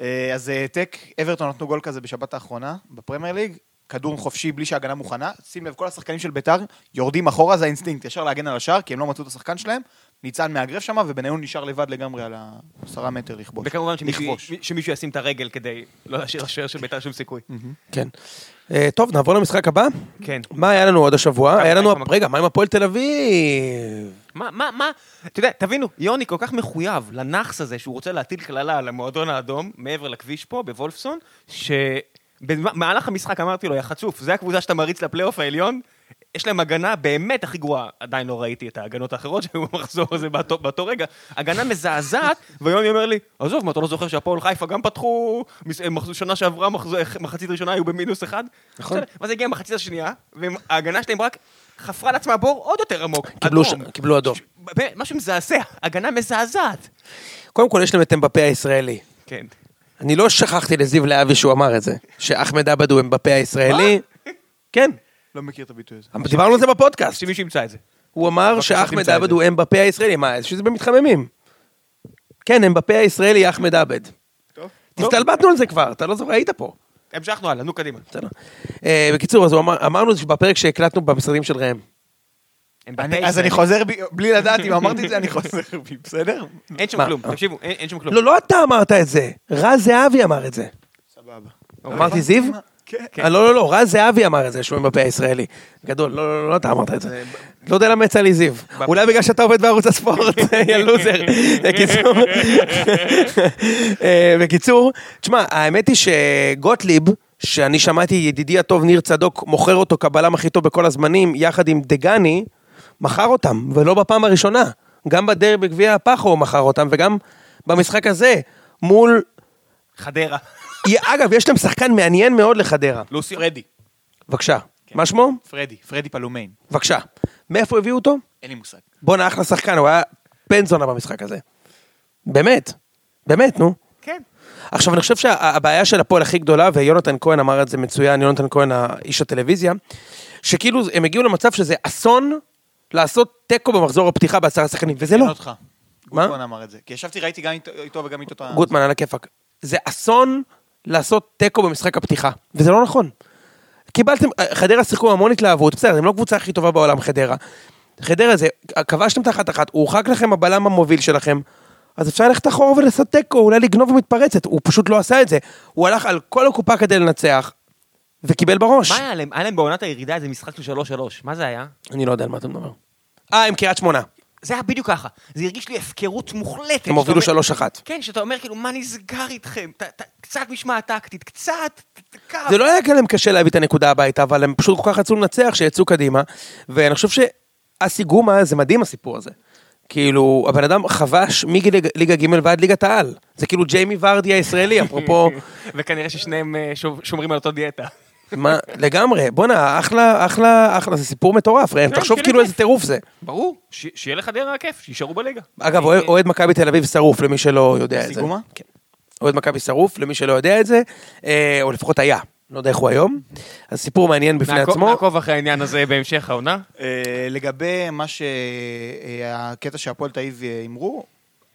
C: אה, אז אה, העתק, אברטון נתנו גול כזה בשבת האחרונה, בפרמייר ליג, כדור חופשי בלי שההגנה מוכנה. שים לב, כל השחקנים של ביתר יורדים אחורה, זה האינסטינקט, ישר להגן על השער, כי הם לא מצאו את השחקן שלהם. ניצן מהגרף שם, ובניון נשאר לבד לגמרי על העשרה מטר לכבוש.
A: וכמובן שמישהו-
C: לכבוש.
A: שמישהו ישים את הרגל כדי לא להשאיר לשוער של בית"ר שום סיכוי.
B: כן. אה, טוב, נעבור למשחק הבא.
A: כן. אה,
B: מה היה לנו עוד השבוע? היה לנו...
A: חיפה-
B: רגע, מה עם הפועל תל אביב?
A: מה, מה, מה, אתה יודע, תבינו, יוני כל כך מחויב לנאחס הזה שהוא רוצה להטיל קללה על המועדון האדום מעבר לכביש פה, בוולפסון, שבמהלך המשחק אמרתי לו, יא חצוף, זה הקבוצה שאתה מריץ לפלייאוף העליון? יש להם הגנה באמת הכי גרועה, עדיין לא ראיתי את ההגנות האחרות שהיו במחזור הזה באותו, באותו רגע, הגנה מזעזעת, ויוני אומר לי, עזוב, מה, אתה לא זוכר שהפועל חיפה גם פתחו, מס- מח- שנה שעברה, מחזור- מחצית ראשונה היו במינוס אחד? נכון. ואז הגיעה המחצית השנייה, וההגנה שלהם רק חפרה לעצמה בור עוד יותר עמוק.
B: קיבלו
A: אדום.
B: ש- קיבלו אדום.
A: באמת, משהו מזעזע, הגנה מזעזעת.
B: קודם כל, יש להם את אמבפה הישראלי.
A: כן.
B: אני לא שכחתי לזיו להבי שהוא אמר את זה, שאחמד עבד הוא אמבפה הישראלי. כן,
C: לא מכיר את הביטוי הזה.
B: דיברנו על זה בפודקאסט.
A: שמישהו ימצא את זה.
B: הוא אמר
A: בבקשה,
B: שאחמד
A: תמצא את
B: עבד
A: זה.
B: הוא אמבפה הישראלי, מה, שזה במתחממים. כן, אמבפה הישראלי, אחמד עבד.
C: טוב.
B: הסתלבטנו על זה כבר, אתה לא זוכר, היית פה.
A: המשכנו הלאה, נו קדימה.
B: בסדר. אה, בקיצור, אז הוא אמר- אמרנו שבפרק שהקלטנו במשרדים של ראם.
A: הם
C: אני-
A: בפה
C: אז אני
A: ישראל.
C: חוזר בי, בלי לדעת אם אמרתי את זה, אני חוזר בי, בסדר?
A: אין שם
B: מה?
A: כלום, תקשיבו, אין אין שם כלום.
B: לא, לא אתה אמרת את זה, רז זהבי אמר את זה.
C: סבבה.
B: אמרתי זיו?
C: אוקיי. כן.
B: אה, לא, לא, לא, רז זהבי אמר את זה, שהוא אמבפה הישראלי. גדול, לא, לא, לא, אתה אמרת את זה. לא יודע למה יצא לי זיו. אולי בגלל שאתה עובד בערוץ הספורט, אה, יא לוזר. בקיצור, אה, בקיצור, תשמע, האמת היא שגוטליב, שאני שמעתי ידידי הטוב ניר צדוק מוכר אותו כבלם הכי טוב בכל הזמנים, יחד עם דגני, מכר אותם, ולא בפעם הראשונה. גם בדרבי גביע הפחו הוא מכר אותם, וגם במשחק הזה, מול...
A: חדרה.
B: אגב, יש להם שחקן מעניין מאוד לחדרה.
A: לוסיו. פרדי.
B: בבקשה. מה שמו?
C: פרדי, פרדי פלומיין.
B: בבקשה. מאיפה הביאו אותו?
C: אין לי מושג.
A: לא.
B: בואנה, אחלה שחקן, הוא היה בן זונה במשחק הזה. באמת. באמת, נו.
A: כן.
B: עכשיו, אני חושב שהבעיה של הפועל הכי גדולה, ויונתן כהן אמר את זה מצוין, יונתן כהן, איש הטלוויזיה, שכאילו הם הגיעו למצב שזה אסון לעשות תיקו במחזור הפתיחה בעשרה שחקנים, וזה לא.
C: אין אותך. גוטמן אמר את זה. כי ישבתי, ראיתי גם איתו- איתו וגם איתו את ה...
B: גוטמן על הכיפאק. זה אסון לעשות תיקו במשחק הפתיחה, וזה לא נכון. קיבלתם, חדרה שיחקו המון התלהבות, בסדר, הם לא הקבוצה הכי טובה בעולם, חדרה. חדרה זה, כבשתם את האחת-אחת, הורחק לכם הבלם המוביל שלכם, אז אפשר ללכת אחורה ולעשות תיקו, אולי לגנוב מתפרצת, הוא פשוט לא עשה את זה. הוא הלך על כל הקופה כדי לנצח, וקיבל בראש.
A: מה היה להם? היה להם בעונת הירידה איזה משחק של 3-3. מה זה היה?
B: אני לא יודע על מה אתה מדבר. אה, עם קריית שמונה.
A: זה היה בדיוק ככה. זה הרגיש לי הפקרות מוחלטת. שאתה
B: הם הובילו
A: אומר-
B: 3-1.
A: כן, שאתה אומר כאילו, מה נסגר איתכם? ת- ת- קצת משמעת טקטית, קצת... ת- ת- קו.
B: זה לא היה כאן להם קשה להביא את הנקודה הביתה, אבל הם פשוט כל כך רצו לנצח שיצאו קדימה. ואני חושב שאסי גומה, זה מדהים הסיפור הזה. כאילו, הבן אדם חבש מליגה ג' ועד ליגת העל. זה כאילו ג'יימי ורדי הישראלי, אפרופו,
A: וכנראה ששניהם אה, שוב- שומרים על אותו דיאטה.
B: מה, לגמרי. בואנה, אחלה, אחלה, אחלה, זה סיפור מטורף, ראם.
A: כן,
B: תחשוב
A: כן,
B: כאילו
A: כן.
B: איזה טירוף זה.
A: ברור, ש- שיהיה לחדרה כיף, שיישארו בליגה.
B: אגב, אוהד- אוהד מכבי תל אביב שרוף, למי שלא יודע את
C: אסי
B: זה.
C: גומה?
B: כן. אוהד מכבי שרוף, למי שלא יודע את זה, אה, או לפחות היה. לא יודע איך הוא היום. אז סיפור מעניין בפני
A: נעקוב-
B: עצמו.
A: נעקוב אחרי העניין הזה בהמשך העונה.
C: אה, לגבי מה ש... אה, הקטע שהפועל תאיב אה, הימרו,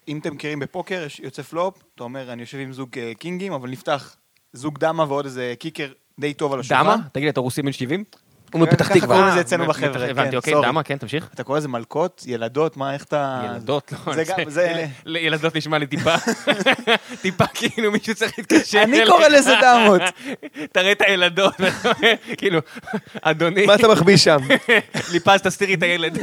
C: אם אתם מכירים בפוקר, יש- יוצא פלופ, אתה אומר, אני יושב עם זוג אה, קינגים, אבל נפתח זוג דמה ועוד איזה קיקר די טוב על השולחן. אה,
A: דמה? תגיד, אתה רוסי בן 70?
B: הוא מפתח
C: ככה
B: תקווה.
C: קוראים לזה
A: אה,
C: אצלנו
A: מ-
C: בחבר'ה,
A: מפתח-
C: כן,
A: הבנתי, אוקיי,
C: סורי.
A: דמה, כן, תמשיך.
C: אתה קורא לזה מלקות, ילדות, מה, איך אתה...
A: ילדות, לא.
C: אה, זה גם, זה...
A: יל- ילדות נשמע לי טיפה, טיפה כאילו מישהו צריך להתקשר.
C: אני
A: אליי.
C: קורא לזה דמות.
A: תראה את הילדות, ואתה אומר, כאילו, אדוני,
B: מה אתה מחביא שם?
A: ליפז תסתירי את הילד.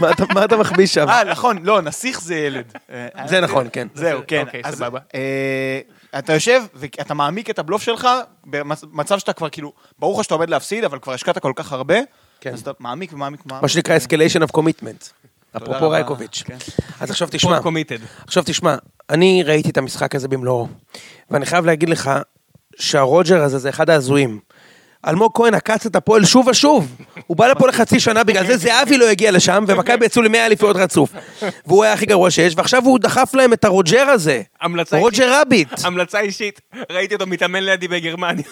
B: מה אתה- מה אתה מחביא שם?
C: אה, נכון, לא, נסיך זה ילד. אה,
B: זה נכון, כן.
C: זהו, כן.
A: אוקיי,
C: אז
A: סבבה.
C: אה, אתה יושב ואתה מעמיק את הבלוף שלך במצב שאתה כבר כאילו, ברור לך שאתה עומד להפסיד, אבל כבר השקעת כל כך הרבה,
B: כן.
C: אז אתה מעמיק ומעמיק
B: מה
C: ומעמיק.
B: שנקרא escalation of commitment. אפרופו
C: רבה.
B: רייקוביץ'.
C: כן.
B: אז עכשיו תשמע,
A: committed.
B: עכשיו תשמע, אני ראיתי את המשחק הזה במלואו, ואני חייב להגיד לך שהרוג'ר הזה זה אחד ההזויים. אלמוג כהן עקץ את הפועל שוב ושוב. הוא בא לפה לחצי שנה, בגלל זה זהבי לא הגיע לשם, ומכבי יצאו למאה אליפויות רצוף. והוא היה הכי גרוע שיש, ועכשיו הוא דחף להם את הרוג'ר הזה.
A: המלצה
B: רוג'ר רביט.
A: המלצה אישית, ראיתי אותו מתאמן לידי בגרמניה.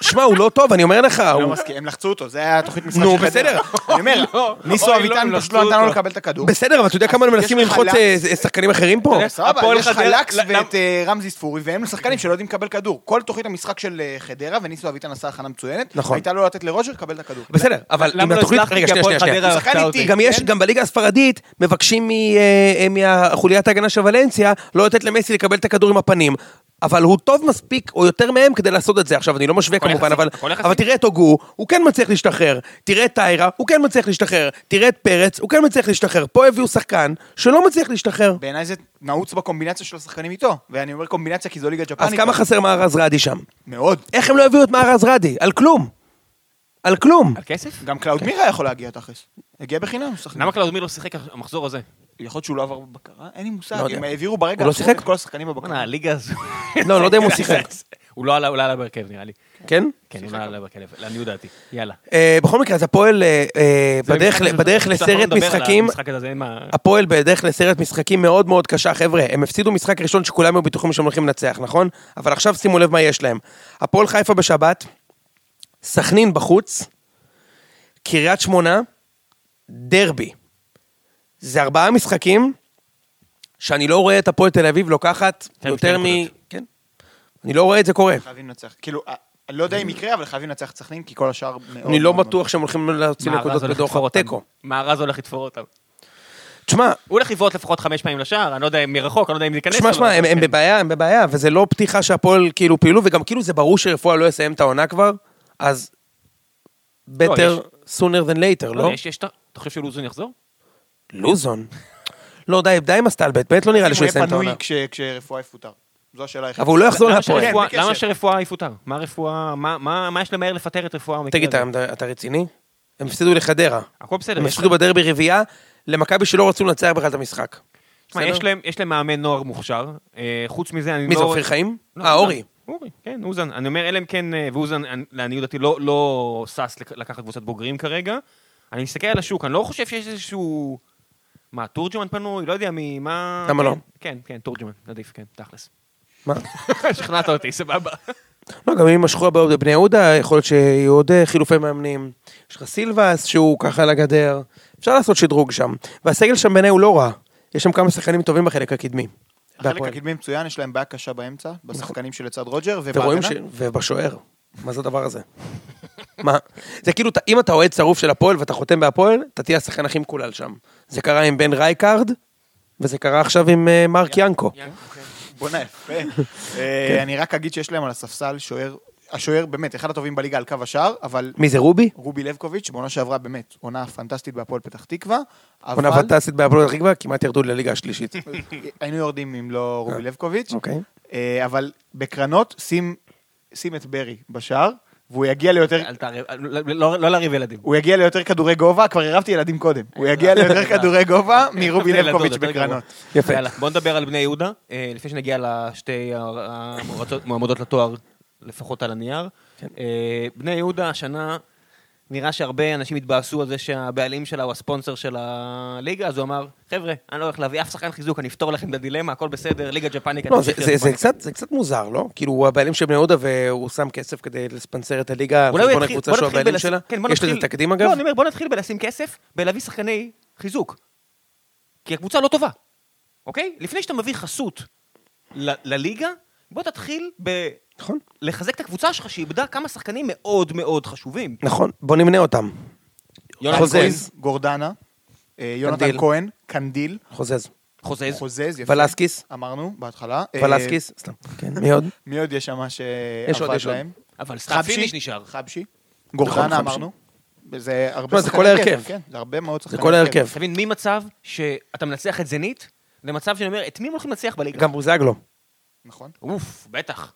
B: שמע, הוא לא טוב, אני אומר לך.
C: לא
B: הוא-
C: מסכים, הם לחצו אותו, זה היה תוכנית משחק
B: נו,
C: של חדרה.
B: בסדר.
C: אני אומר,
A: לא,
C: ניסו
A: אוי, לא,
C: אביטן
A: הם
C: פשוט
A: לחצו
C: לא נתן לו
A: אותו.
C: לקבל את הכדור.
B: בסדר, אבל אתה יודע כמה הם מנסים
C: לך
B: ללחוץ
C: לה-
B: אה, אה, שחקנים אחרים פה?
C: סבבה,
A: הפועל
C: יש לך
A: חדרה-
C: לקס
A: לא,
C: ואת אה, רמזי ספורי, והם שחקנים שלא יודעים לקבל כדור. כל תוכנית המשחק של אה, חדרה, וניסו אביטן עשה הכנה מצוינת,
B: נכון.
C: הייתה לו לתת לרוג'ר לקבל את הכדור.
B: בסדר, אבל
A: למה
B: אם
A: לא
B: התוכנית...
A: הצלחתי?
B: רגע,
A: כי
B: שנייה, שנייה,
A: הפועל
B: שנייה.
A: חדרה
C: שחקן
A: הרסה
C: איטי.
A: אותי. כן.
B: גם יש, גם בליגה הספרדית, מבקשים מ- אה, אה, מהחוליית ההגנה של ולנסיה לא לתת למסי לקבל את הכדור עם הפנים. אבל הוא טוב מספיק, או יותר מהם, כדי לעשות את זה. עכשיו, אני לא משווה
A: הכל
B: כמובן,
A: יחסי,
B: אבל,
A: הכל יחסי.
B: אבל תראה את הוגו, הוא כן מצליח להשתחרר. תראה את טיירה, הוא כן מצליח להשתחרר. תראה את פרץ, הוא כן מצליח להשתחרר. פה הביאו שחקן שלא מצליח להשתחרר.
C: בעיניי זה נעוץ בקומבינציה של השחקנים איתו, ואני אומר קומבינציה כי זו ליגה
B: אז
C: ג'פנית.
B: כמה חסר מהרז רדי שם?
C: מאוד.
B: איך הם לא הביאו את מהרז רדי? על כלום. על כלום.
A: על כסף?
C: גם
B: כן.
C: קלאוד מירה יכול להגיע תכלס. הגיע בחינם, שחקן.
A: למה קלאודמיר לא שיחק המחזור הזה?
C: יכול להיות שהוא לא עבר בבקרה? אין לי מושג.
B: לא יודע.
C: הם העבירו ברגע
B: הוא לא
C: האחרון
B: שיחק?
C: את כל השחקנים בבקרה.
A: בוא'נה, הליגה הזו...
B: לא, לא יודע אם הוא שיחק.
A: הוא הוא לא עלה, הוא לא עלה בהרכב, נראה לי.
B: כן?
A: כן, הוא לא עלה בהרכב, לעניות דעתי. יאללה.
B: אה, בכל מקרה, אז הפועל אה, אה,
A: זה
B: בדרך
A: משחק
B: ל-
A: של-
B: בדרך
A: שאנחנו
B: לסרט
A: נדבר על
B: משחקים,
A: המשחק הזה, אין מה...
B: הפועל בדרך לסרט משחקים מאוד מאוד קשה. חבר'ה, הם הפסידו משחק ראשון שכולם היו בטוחים שהם הולכים לנצח, נכון? אבל עכשיו שימו לב מה יש להם. הפועל חיפה בשבת, סכנין בחוץ, קריית שמונה, דרבי. זה ארבעה משחקים שאני לא רואה את הפועל תל אביב לוקחת
A: יותר
B: יותר מ...
A: נקודות.
B: כן. אני לא רואה את זה קורה.
A: נכון,
C: חייבים לנצח. כאילו, אה, אני לא יודע אם יקרה, אבל חייבים לנצח את סכנין, כי כל השאר מאוד...
B: אני לא
A: נכון,
C: מאוד-
B: בטוח שהם הולכים להוציא
A: מארז
B: נקודות
A: הולך
B: בדוח
A: לתפור אותם.
B: התיקו.
A: מארז הולך לתפור אותם.
B: תשמע,
A: הוא הולך לבעוט לפחות חמש פעמים לשער, אני לא יודע אם מרחוק, אני לא יודע אם ניכנס.
B: שמע,
A: אבל-
B: שמע, הם,
A: כן.
B: הם בבעיה, הם בבעיה, וזה לא פתיחה שהפועל כאילו פעילו, וגם כאילו זה ברור שרפואה לא יסיים את העונה כבר, אז better sooner than later,
A: לא,
B: לא?
A: יש, יש, את ה- אתה חושב שלוזון יחזור?
B: לוזון. לא, די, די עם הסטלבט, באמת לא נראה לי
C: אם הוא
B: שהוא יסיים
C: יהיה
B: את העונה.
C: פנוי כש- כשרפואה יפוטר. זו השאלה היחידה.
B: אבל הוא לא יחזור
A: למה
B: להפועל.
A: שרפואה-
C: כן, בלי
A: למה
C: קשר.
A: שרפואה יפוטר? מה רפואה, מה- מה מה יש למהר לפטר את רפואה במקרה
B: תגיד,
A: הזה?
B: אתה- אתה רציני? הם הפסידו לחדרה.
A: הכל בסדר.
B: הם
A: יש
B: הפסידו בדרבי רביעייה, למכבי שלא רצו לנצח בכלל את המשחק.
A: תשמע,
B: בסדר?
A: יש להם- יש להם מאמן נוער מוכשר, אה, חוץ מזה אני לא...
B: מי זה, אופיר חיים?
A: לא,
B: אה,
A: אוזן.
B: אורי.
A: אורי, כן, אוזן. אני אומר, אלא אם כן, אה, ואוזן, אני- לעניות דעתי, לא- לא שש לק- לקחת קבוצת בוגרים כרגע. אני מסתכל על השוק, אני לא חושב שיש איזשהו... מה, תורג'מן פנוי? לא יודע מי, מה...
B: למה לא?
A: כן, כן, כן, תורג'מן, עדיף, כן, תכלס.
B: מה?
A: שכנעת אותי, סבבה.
B: לא, גם אם יימשכו הבעיות בבני יהודה, יכול להיות שיהיו עוד אה, חילופי מאמנים. יש לך סילבס שהוא ככה על הגדר. אפשר לעשות שדרוג שם. והסגל שם בעיניי הוא לא רע. יש שם כמה שחקנים טובים בחלק הקדמי.
C: החלק
B: בהפועל.
C: הקדמי מצוין, יש להם בעיה קשה באמצע, בשחקנים שלצד רוג'ר,
B: אתם רואים
C: ובהגנה.
B: ש... ובשוער. מה זה הדבר הזה? מה? זה כאילו, אתה- אם אתה אוהד שרוף של הפועל ואתה חותם בהפועל, אתה תהיה השחקן הכי מקולל שם. זה קרה עם בן רייקארד, וזה קרה עכשיו עם אה, מרק ינקו.
C: בואנה יפה.
B: כן.
C: אה, אני רק אגיד שיש להם על הספסל שוער, השוער באמת, אחד הטובים בליגה על קו השער, אבל
B: מי זה, רובי?
C: רובי לבקוביץ', שבעונה שעברה באמת, עונה פנטסטית בהפועל פתח תקווה,
B: עונה
C: אבל
B: פנטסטית בהפועל פתח תקווה, כמעט ירדו לליגה השלישית.
C: היינו יורדים אם לא רובי לבקוביץ',
B: אוקיי.
C: אה, אבל בקרנות שים- שים את ברי בשער, והוא יגיע ליותר...
A: אל תערב, לא- לא לא לריב ילדים.
C: הוא יגיע ליותר כדורי גובה, כבר הרבתי ילדים קודם. הוא יגיע ליותר כדורי גובה מרובי
A: ילדות,
C: לבקוביץ'
A: יותר
C: בקרנות.
A: גרוע.
B: יפה.
A: יאללה, בוא נדבר על בני יהודה, אה, לפני שנגיע לשתי המועמדות- המועמדות לתואר, לפחות על הנייר.
B: כן.
A: אה, בני יהודה השנה, נראה שהרבה אנשים התבאסו על זה שהבעלים שלה הוא הספונסר של הליגה, אז הוא אמר, חבר'ה, אני לא הולך להביא אף שחקן חיזוק, אני אפתור לכם את הדילמה, הכל בסדר, ליגה ג'פנית. כן, אני
B: לא, זה,
A: אמשיך
B: זה,
A: להיות
B: זה,
A: ג'פנית."
B: קצת, זה קצת מוזר, לא? כאילו, הוא הבעלים של בני יהודה והוא שם כסף כדי לספנסר את הליגה,
A: אולי הוא
B: אה, חשבון
A: יתחיל-
B: הקבוצה
A: בוא
B: שהוא
A: נתחיל
B: הבעלים
A: בלשים-
B: שלה?
A: כן, בוא
B: יש לזה
A: נתחיל-
B: תקדים אגב?
A: לא, אני אומר, בוא נתחיל בלשים כסף, בלהביא שחקני חיזוק. כי הקבוצה לא טובה, אוקיי? לפני שאתה מביא חסות ל- לליגה, בוא תתחיל ב...
B: נכון,
A: לחזק את הקבוצה שלך, שאיבדה כמה שחקנים מאוד מאוד חשובים.
B: נכון, בוא נמנה אותם.
A: יונתן
B: חוזז.
C: חוזז, גורדנה, אה, יונתן
B: קנדיל.
C: כהן, קנדיל,
B: חוזז.
A: חוזז.
C: חוזז, יפה.
B: ולסקיס,
C: אמרנו בהתחלה. אה,
B: ולסקיס, סתם. כן, מי עוד?
C: מי עוד יש שם
B: יש עוד,
C: שעבד
B: יש עוד. נכון,
C: להם?
A: אבל סתם פיניש נשאר.
C: חבשי. גורדנה
B: חבשי.
C: אמרנו. זה הרבה
B: תשמע, זה כל ההרכב.
C: כן, זה הרבה מאוד
B: זה
C: שחקנים.
B: כל ההרכב.
A: אתה מבין, ממצב שאתה מנצח את זנית, למצב שאני אומר, את מי הם הולכים לנצח בליגה?
B: גם בוזגלו.
C: נכון.
A: אוף, בטח.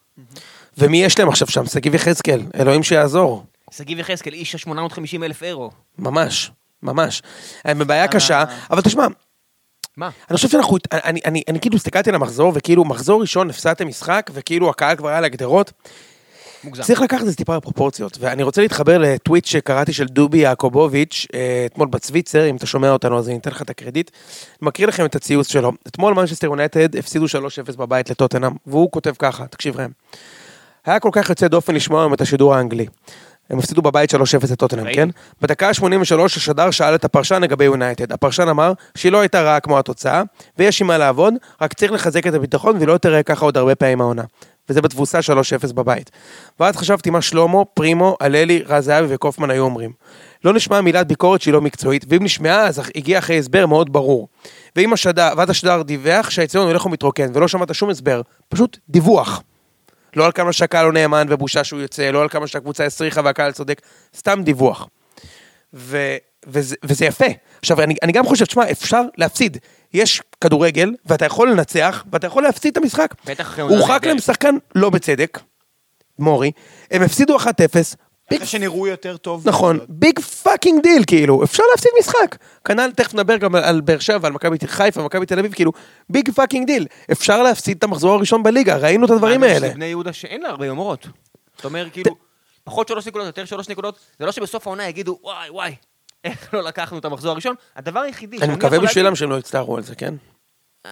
B: ומי יש להם עכשיו שם? שגיב יחזקאל, אלוהים שיעזור.
A: שגיב יחזקאל, איש ה-850 אלף אירו.
B: ממש, ממש. הם בבעיה
A: אה.
B: קשה, אבל תשמע,
A: מה?
B: אני חושב שאנחנו, אני, אני, אני, אני כאילו הסתכלתי על המחזור, וכאילו, מחזור ראשון הפסדתם משחק, וכאילו הקהל כבר היה על הגדרות,
A: מוגזם.
B: צריך לקחת את זה טיפה לפרופורציות, ואני רוצה להתחבר לטוויט שקראתי של דובי יעקובוביץ', אה, אתמול בצוויצר, אם אתה שומע אותנו אז אני אתן לך את הקרדיט. אני מקריא לכם את הציוץ שלו. אתמול מנצ'סטר יונייטד הפסידו 3-0 בבית לטוטנאם, והוא כותב ככה, תקשיב ראם. היה כל כך יוצא דופן לשמוע היום את השידור האנגלי. הם הפסידו בבית 3-0 לטוטנאם,
A: ראיתי.
B: כן? בדקה ה-83 השדר שאל את הפרשן לגבי יונייטד. הפרשן אמר שהיא לא הייתה רעה כמו התוצאה, ויש עם מה לעבוד, רק צריך לחזק את הביטחון והיא לא תראה ככה עוד הרבה פעמים העונה. וזה בתבוסה 3-0 בבית. ואז חשבתי מה שלמה, פרימו, הללי, רז זהבי וקופמן היו אומרים. לא נשמעה מילת ביקורת שהיא לא מקצועית, ואם נשמעה אז הגיע אחרי הסבר מאוד ברור. ואם השדר, ואז השדר דיווח שהאצטדיון הולך ומתרוקן, ולא שמעת שום הסבר, פשוט דיווח. לא על כמה שהקהל לא נאמן ובושה שהוא יוצא, לא על כמה שהקבוצה הסריחה והקהל צודק, סתם דיווח. ו, וזה, וזה יפה. עכשיו, אני, אני גם חושב, תשמע, אפשר להפסיד. יש כדורגל, ואתה יכול לנצח, ואתה יכול להפסיד את
A: כן,
B: המשחק.
A: בטח אחרי עונה
B: הורחק
A: נהדרת.
B: להם שחקן לא בצדק, מורי, הם הפסידו 1-0, ביג
C: אחרי שנראו יותר טוב.
B: נכון, ביג פאקינג דיל, כאילו, אפשר להפסיד משחק. כנ"ל, תכף נדבר גם על- על באר שבע, על מכבי ת- חיפה, מכבי תל אביב, כאילו, ביג פאקינג דיל. אפשר להפסיד את המחזור הראשון בליגה, ראינו את הדברים
A: מאמן
B: האלה.
A: של בני יהודה שאין לה הרבה יומרות. אתה אומר, כאילו, פחות שלוש נקודות, יותר שלוש נקודות, זה לא שבסוף העונה יגידו, וואי, וואי, איך לא לקחנו את המחזור הראשון. הדבר היחידי
B: אני
A: יכול
B: מקווה
A: להגיד-
B: בשבילם שהם לא יצטערו על זה, כן?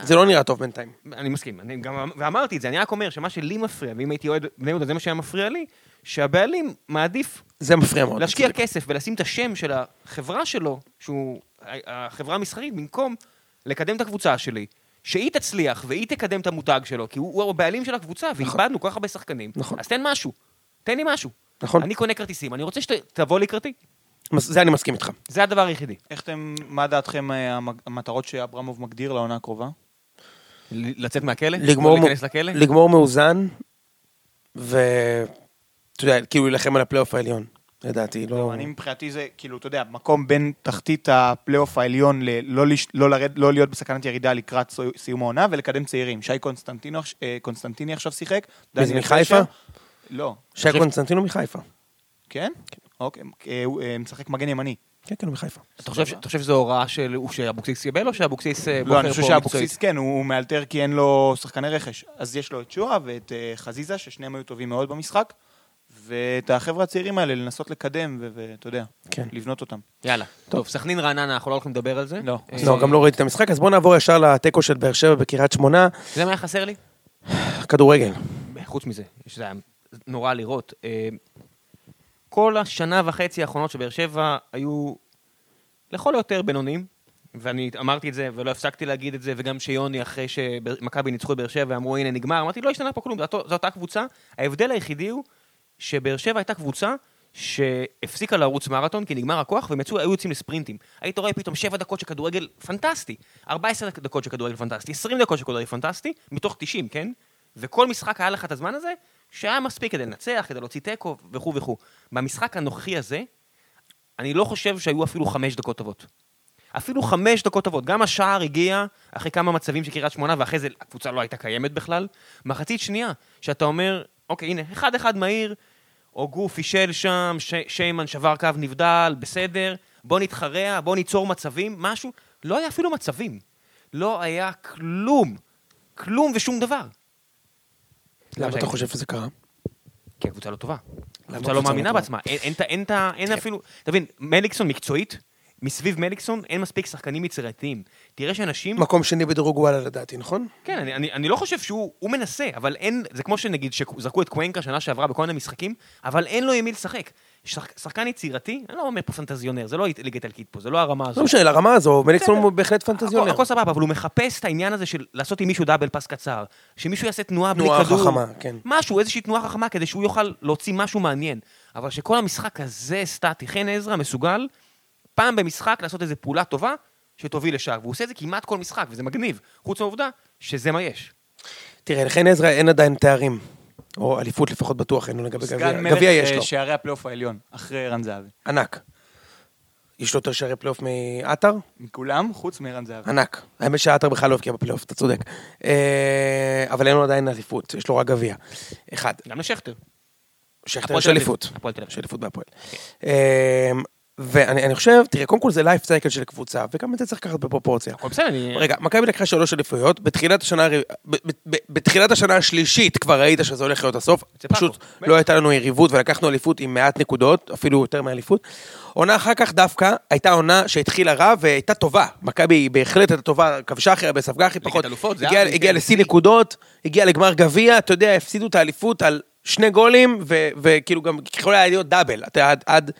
B: זה לא נראה טוב בינתיים.
A: אני מסכים, אני גם, ואמרתי את זה, אני רק אומר שמה שלי מפריע, ואם הייתי אוהד בני יהודה, זה מה שהיה מפריע לי, שהבעלים מעדיף
B: זה מפריע מאוד.
A: להשקיע כסף ולשים את השם של החברה שלו, שהוא החברה המסחרית, במקום לקדם את הקבוצה שלי, שהיא תצליח והיא תקדם את המותג שלו, כי הוא הוא הבעלים של הקבוצה, ואיבדנו כל כך הרבה שחקנים.
B: נכון.
A: אז תן משהו, תן לי משהו.
B: נכון.
A: אני קונה כרטיסים, אני רוצה שתבוא לקראתי.
B: מס- זה אני מסכים איתך.
A: זה הדבר היחידי.
C: איך אתם, מה דעתכם אה, המג- המטרות שאברמוב מגדיר לעונה הקרובה?
A: ל- לצאת מהכלא?
B: לגמור
A: לא
B: מ-
A: להיכנס לכלא?
B: לגמור מאוזן, ו... אתה יודע, כאילו להילחם על הפלייאוף העליון, לדעתי, לא...
C: אני מבחינתי זה, כאילו, אתה יודע, מקום בין תחתית הפלייאוף העליון ללא לש- לא לרד- לא להיות בסכנת ירידה לקראת סו- סיום העונה ולקדם צעירים. שי קונסטנטינו עכש- אה, קונסטנטיני עכשיו שיחק.
B: מי זה,
C: דניאל
B: מחיפה?
C: פשר. לא.
B: שי קונסטנטינו מחיפה.
C: כן? אוקיי, אה, הוא אה, משחק מגן ימני.
B: כן, כן, הוא מחיפה.
A: אתה חושב ש- אתה חושב שזו הוראה של... הוא שאבוקסיס קיבל או שאבוקסיס אה, בוחר פה
C: לא, אני חושב שאבוקסיס,
A: מקצועית?
C: כן, הוא הוא מאלתר כי אין לו שחקני רכש. אז יש לו את שואה ואת אה, חזיזה, ששניהם היו טובים מאוד במשחק, ואת החבר'ה הצעירים האלה לנסות לקדם, ו- ואתה יודע,
B: כן.
C: לבנות אותם.
A: יאללה. טוב, סכנין רעננה, אנחנו לא הולכים לדבר על זה.
C: לא.
A: אה,
B: לא, גם לא ראיתי את המשחק, אז בואו נעבור ישר לתיקו של באר שבע בקריית שמונה,
A: אתה יודע מה היה חסר לי?
B: כדורגל.
A: חוץ מזה, שזה היה נורא לראות. אה, כל השנה וחצי האחרונות של באר שבע היו לכל היותר בינוניים, ואני אמרתי את זה ולא הפסקתי להגיד את זה, וגם שיוני אחרי שמכבי ניצחו את באר שבע ואמרו הנה נגמר, אמרתי לא השתנה פה כלום, זו אותו- זו אותה קבוצה. ההבדל היחידי הוא שבאר שבע הייתה קבוצה שהפסיקה לרוץ מרתון כי נגמר הכוח והם יצאו, היו יוצאים לספרינטים. היית רואה פתאום 7 דקות של כדורגל פנטסטי, 14 דקות של כדורגל פנטסטי, 20 דקות של כדורגל פנטסטי, מתוך 90, כן? וכל משחק היה לך את הזמן הזה, שהיה מספיק כדי לנצח, כדי להוציא תיקו וכו' וכו'. במשחק הנוכחי הזה, אני לא חושב שהיו אפילו חמש דקות טובות. אפילו חמש דקות טובות. גם השער הגיע אחרי כמה מצבים של קריית שמונה, ואחרי זה הקבוצה לא הייתה קיימת בכלל. מחצית שנייה, שאתה אומר, אוקיי, הנה, אחד-אחד מהיר, הוגו פישל שם, ש- שיימן שבר קו נבדל, בסדר, בוא נתחרע, בוא ניצור מצבים, משהו. לא היה אפילו מצבים. לא היה כלום. כלום ושום דבר.
B: למה
A: שהייתי.
B: אתה חושב שזה קרה?
A: כי הקבוצה לא טובה. הקבוצה
B: הקבוצה
A: לא
B: לא
A: מאמינה
B: טובה? כן.
A: בעצמה. אין- אין את ה- אין את ה... אין אפילו... תבין, מליקסון מקצועית, מסביב מליקסון אין מספיק שחקנים יצירתיים. תראה שאנשים...
B: מקום שני בדירוג וואלה לדעתי, נכון?
A: כן, אני, אני, אני לא חושב שהוא הוא מנסה, אבל אין... זה כמו שנגיד שזרקו את קוונקה שנה שעברה בכל מיני משחקים, אבל אין לו עם מי לשחק. שח, שחקן יצירתי, אני לא אומר פה פנטזיונר, זה לא ליגה איטלקית פה, זה לא הרמה הזו.
B: לא משנה, לרמה הזו, מליקסון
A: בסדר.
B: הוא בהחלט
A: הכל,
B: פנטזיונר.
A: הכל סבבה, אבל הוא מחפש את העניין הזה של לעשות עם מישהו דאבל פס קצר, שמישהו יעשה תנועה בלי
B: תנועה
A: כדור.
B: חכמה, כן.
A: משהו, איזושהי תנועה חכמה, כדי שהוא יוכל להוציא משהו מעניין. אבל שכל המשחק הזה סטטי, חן עזרא מסוגל פעם במשחק לעשות איזו פעולה טובה שתוביל לשער. והוא עושה את זה כמעט כל משחק, וזה מגניב. חוץ מהעובדה שזה מה יש.
B: תראה, לחן עזרא אין עדיין תארים. או אליפות לפחות בטוח אין לו לגבי
C: סגן
B: גביע. גביע יש
C: מלך
B: לו,
C: אה, שערי הפלייאוף העליון, אחרי ערן זהבי.
B: ענק. יש לו יותר שערי פלייאוף מעטר?
C: מכולם, חוץ מערן זהבי.
B: ענק. האמת שעטר בכלל לא הבקיע בפלייאוף, אתה צודק. אה, אבל אין לו עדיין אליפות, יש לו רק גביע. אחד.
A: גם לשכטר.
B: שכטר
A: הפועל
B: יש
A: תל אביב.
B: אליפות.
A: הפועל תל אביב.
B: יש אליפות בהפועל. אמ, ואני אני חושב, תראה, קודם כל זה לייף סייקל של קבוצה, וגם את זה צריך לקחת בפרופורציה.
A: הכל בסדר, אני...
B: אה, רגע, מכבי לקחה שלוש אליפויות, בתחילת השנה, הר- ב- ב- ב- בתחילת השנה השלישית כבר ראית שזה הולך להיות הסוף,
A: אצל פאקו.
B: פשוט לא הייתה לנו יריבות ולקחנו אליפות עם מעט נקודות, אפילו יותר מאליפות. עונה אחר כך דווקא הייתה עונה שהתחילה רע והייתה טובה, מכבי היא בהחלט הייתה טובה, כבשה הכי הרבה, ספגה הכי פחות,
A: אלופות, זה
B: הגיעה
A: היה-
B: הגיעה
A: כן,
B: לשיא נקודות, הגיעה לגמר גביע, אתה יודע, הפסידו את האליפות על שני גולים, ו- וכאילו גם יכול היה להיות דאבל, אתה יודע, עד- עד...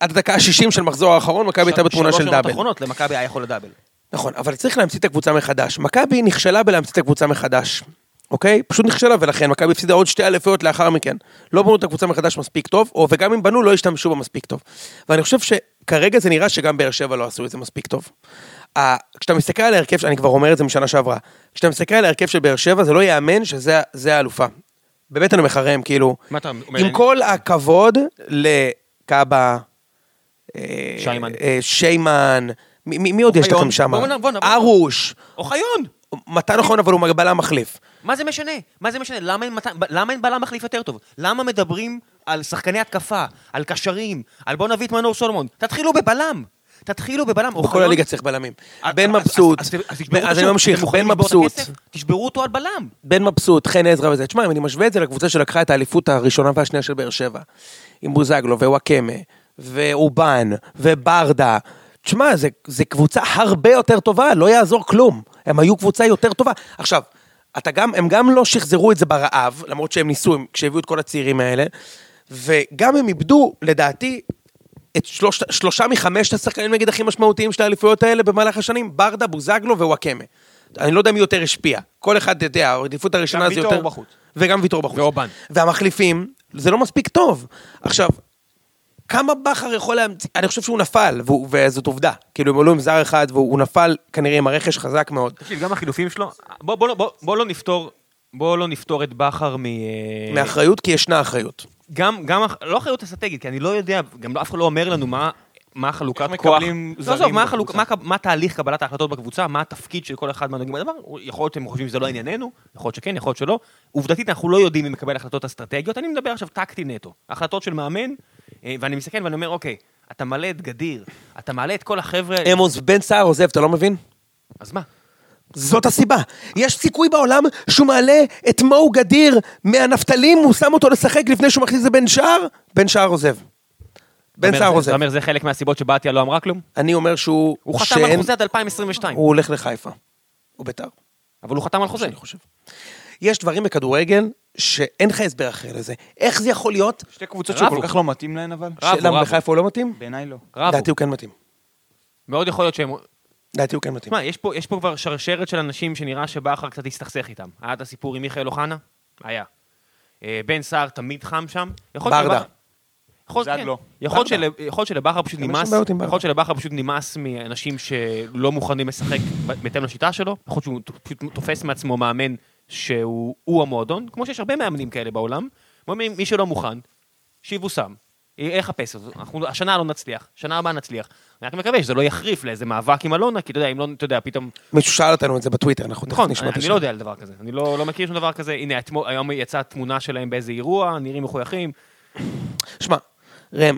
B: עד הדקה ה-60 של מחזור האחרון, מכבי הייתה בתמונה של
A: שלוש עונות
B: דאבל.
A: אחרונות למכבי היה יכול לדאבל.
B: נכון, אבל צריך להמציא את הקבוצה מחדש. מכבי נכשלה בלהמציא את הקבוצה מחדש, אוקיי? פשוט נכשלה, ולכן מכבי הפסידה עוד שתי אליפויות לאחר מכן. לא בנו את הקבוצה מחדש מספיק טוב, או וגם אם בנו, לא השתמשו בה מספיק טוב. ואני חושב שכרגע זה נראה שגם באר שבע לא עשו את זה מספיק טוב. ה- כשאתה מסתכל על ההרכב, ש- אני כבר אומר את זה משנה שעברה, כשאתה מסתכל על ההרכב של באר שבע, זה לא ייאמן שזה ה- זה האלופה. באמת אני מחרם, כאילו,
A: מה אתה אומר?
B: עם כל הכבוד לקאבה, אה,
A: שיימן.
B: אה, שיימן, מי- מי מי עוד יש
A: אוחיון.
B: לכם שם?
A: בואו נע- בואו נעבור.
B: ארוש,
A: אוחיון!
B: מתן נכון, אבל הוא בלם מחליף.
A: מה זה משנה? מה זה משנה? למה אין, מת... למה אין בלם מחליף יותר טוב? למה מדברים על שחקני התקפה, על קשרים, על בוא נביא את מנור סולומון? תתחילו בבלם! תתחילו בבלם.
B: בכל
A: אוחיון-
B: הליגה צריך בלמים.
A: אז-
B: בן
A: אז-
B: מבסוט,
A: אה, אז- אז- אז תשברו את
B: אז אני
A: השוק.
B: ממשיך,
A: אתם
B: בן
A: מוכנים לשבור את
B: מבסוט,
A: הכסף? תשברו אותו על בלם.
B: בן מבסוט, חן עזרא וזה. תשמע, אם אני משווה את זה לקבוצה שלקחה את האליפות הראשונה והשנייה של באר שבע, עם בוזגלו ווואקמה, ואובן, וברדה, תשמע, זה- זה קבוצה הרבה יותר טובה, לא יעזור כלום. הם היו קבוצה יותר טובה. עכשיו, אתה גם, הם גם לא שחזרו את זה ברעב, למרות שהם ניסו, הם- כשהביאו את כל הצעירים האלה, וגם הם איבדו, לדעתי, את שלוש, שלושה מחמשת השחקנים נגיד הכי משמעותיים של האליפויות האלה במהלך השנים, ברדה, בוזגלו ווואקמה. אני לא יודע מי יותר השפיע. כל אחד, אתה יודע, העדיפות הראשונה זה
C: ויטור
B: יותר...
C: בחוץ.
B: וגם ויטור בחוץ.
A: ואובן.
B: והמחליפים, זה לא מספיק טוב. עכשיו, כמה בכר יכול להמציא, אני חושב שהוא נפל, והוא- וזאת עובדה. כאילו, הם עלו עם זר אחד, והוא הוא נפל כנראה עם הרכש חזק מאוד.
A: תקשיב, גם החילופים שלו... בוא, בוא, לא- בוא, בוא לא נפתור... בוא לא נפתור את בכר מ...
C: אה.
B: מאחריות, כי ישנה אחריות.
A: גם, גם, אח- לא אחריות אסטרטגית, כי אני לא יודע, גם לא- אף אחד לא אומר לנו מה, מה החלוקת
C: איך
A: כוח.
C: מקבלים
A: לא,
C: זרים
A: עזוב, מה,
C: בקבוצה.
A: החלוק, מה, מה תהליך קבלת ההחלטות בקבוצה, מה התפקיד של כל אחד מהנוגעים בדבר. יכול להיות שהם חושבים שזה לא ענייננו, יכול להיות שכן, יכול להיות שלא. עובדתית, אנחנו לא יודעים אם מקבל החלטות אסטרטגיות, אני מדבר עכשיו טקטי נטו. החלטות של מאמן, אה, ואני מסתכל ואני אומר, אוקיי, אתה מעלה את גדיר, אתה מעלה את כל החבר'ה,
B: עמוס בן סער עוזב, אתה לא מבין?
A: אז מה?
B: זאת הסיבה. יש סיכוי בעולם שהוא מעלה את מו גדיר מהנפתלים, הוא שם אותו לשחק לפני שהוא מכניס את זה בן שער? בן שער עוזב.
A: אתה
B: בן
A: אומר,
B: שער
A: זה-
B: עוזב.
A: אתה אומר, זה חלק מהסיבות שבתיה לא אמרה כלום?
B: אני אומר שהוא...
A: הוא חתם
B: שאין-
A: על חוזה עד 2022,
B: הוא הולך לחיפה. הוא בית"ר.
A: אבל הוא חתם על חוזה.
B: יש דברים בכדורגל שאין לך הסבר אחר לזה. איך זה יכול להיות?
C: שתי קבוצות שהוא
A: רבו.
C: כל כך לא מתאים להן, אבל?
A: רבו,
B: שלמה
A: רבו.
B: בחיפה הוא לא מתאים?
C: בעיניי לא.
A: רבו,
B: לדעתי הוא כן מתאים.
A: מאוד יכול להיות שהם...
B: לדעתי הוא כן מתאים.
A: תשמע, יש פה, יש פה כבר שרשרת של אנשים שנראה שבכר קצת הסתכסך איתם. היה את הסיפור עם מיכאל אוחנה? היה. אה, בן סער תמיד חם שם. יכול להיות
B: ברדה.
A: שבכר- יכול להיות-
C: זג
A: כן.
C: לא.
A: יכול להיות
B: ברדה.
A: של- יכול להיות שלבכר פשוט
B: גם יש
A: נמאס,
B: שם בעיות לא עם
A: יכול
B: ברדה.
A: להיות שלבכר פשוט נמאס מאנשים שלא מוכנים לשחק ב- בהתאם לשיטה שלו, יכול להיות שהוא ת- פשוט תופס מעצמו מאמן שהוא הוא המועדון, כמו שיש הרבה מאמנים כאלה בעולם, אומרים מי שלא מוכן, שיבושם, יחפש אותו, אנחנו השנה לא נצליח, שנה הבאה נצליח, אני רק מקווה שזה לא יחריף לאיזה מאבק עם אלונה, כי אתה יודע, אם לא, אתה יודע, פתאום
B: מישהו שאל אותנו את זה בטוויטר, אנחנו תכף
A: נכון,
B: נשמע את
A: אני
B: השאלה.
A: לא יודע על דבר כזה. אני לא לא מכיר שום דבר כזה. הנה, אתמול- היום יצאה תמונה שלהם באיזה אירוע, נראים מחויכים.
B: שמע, ראם,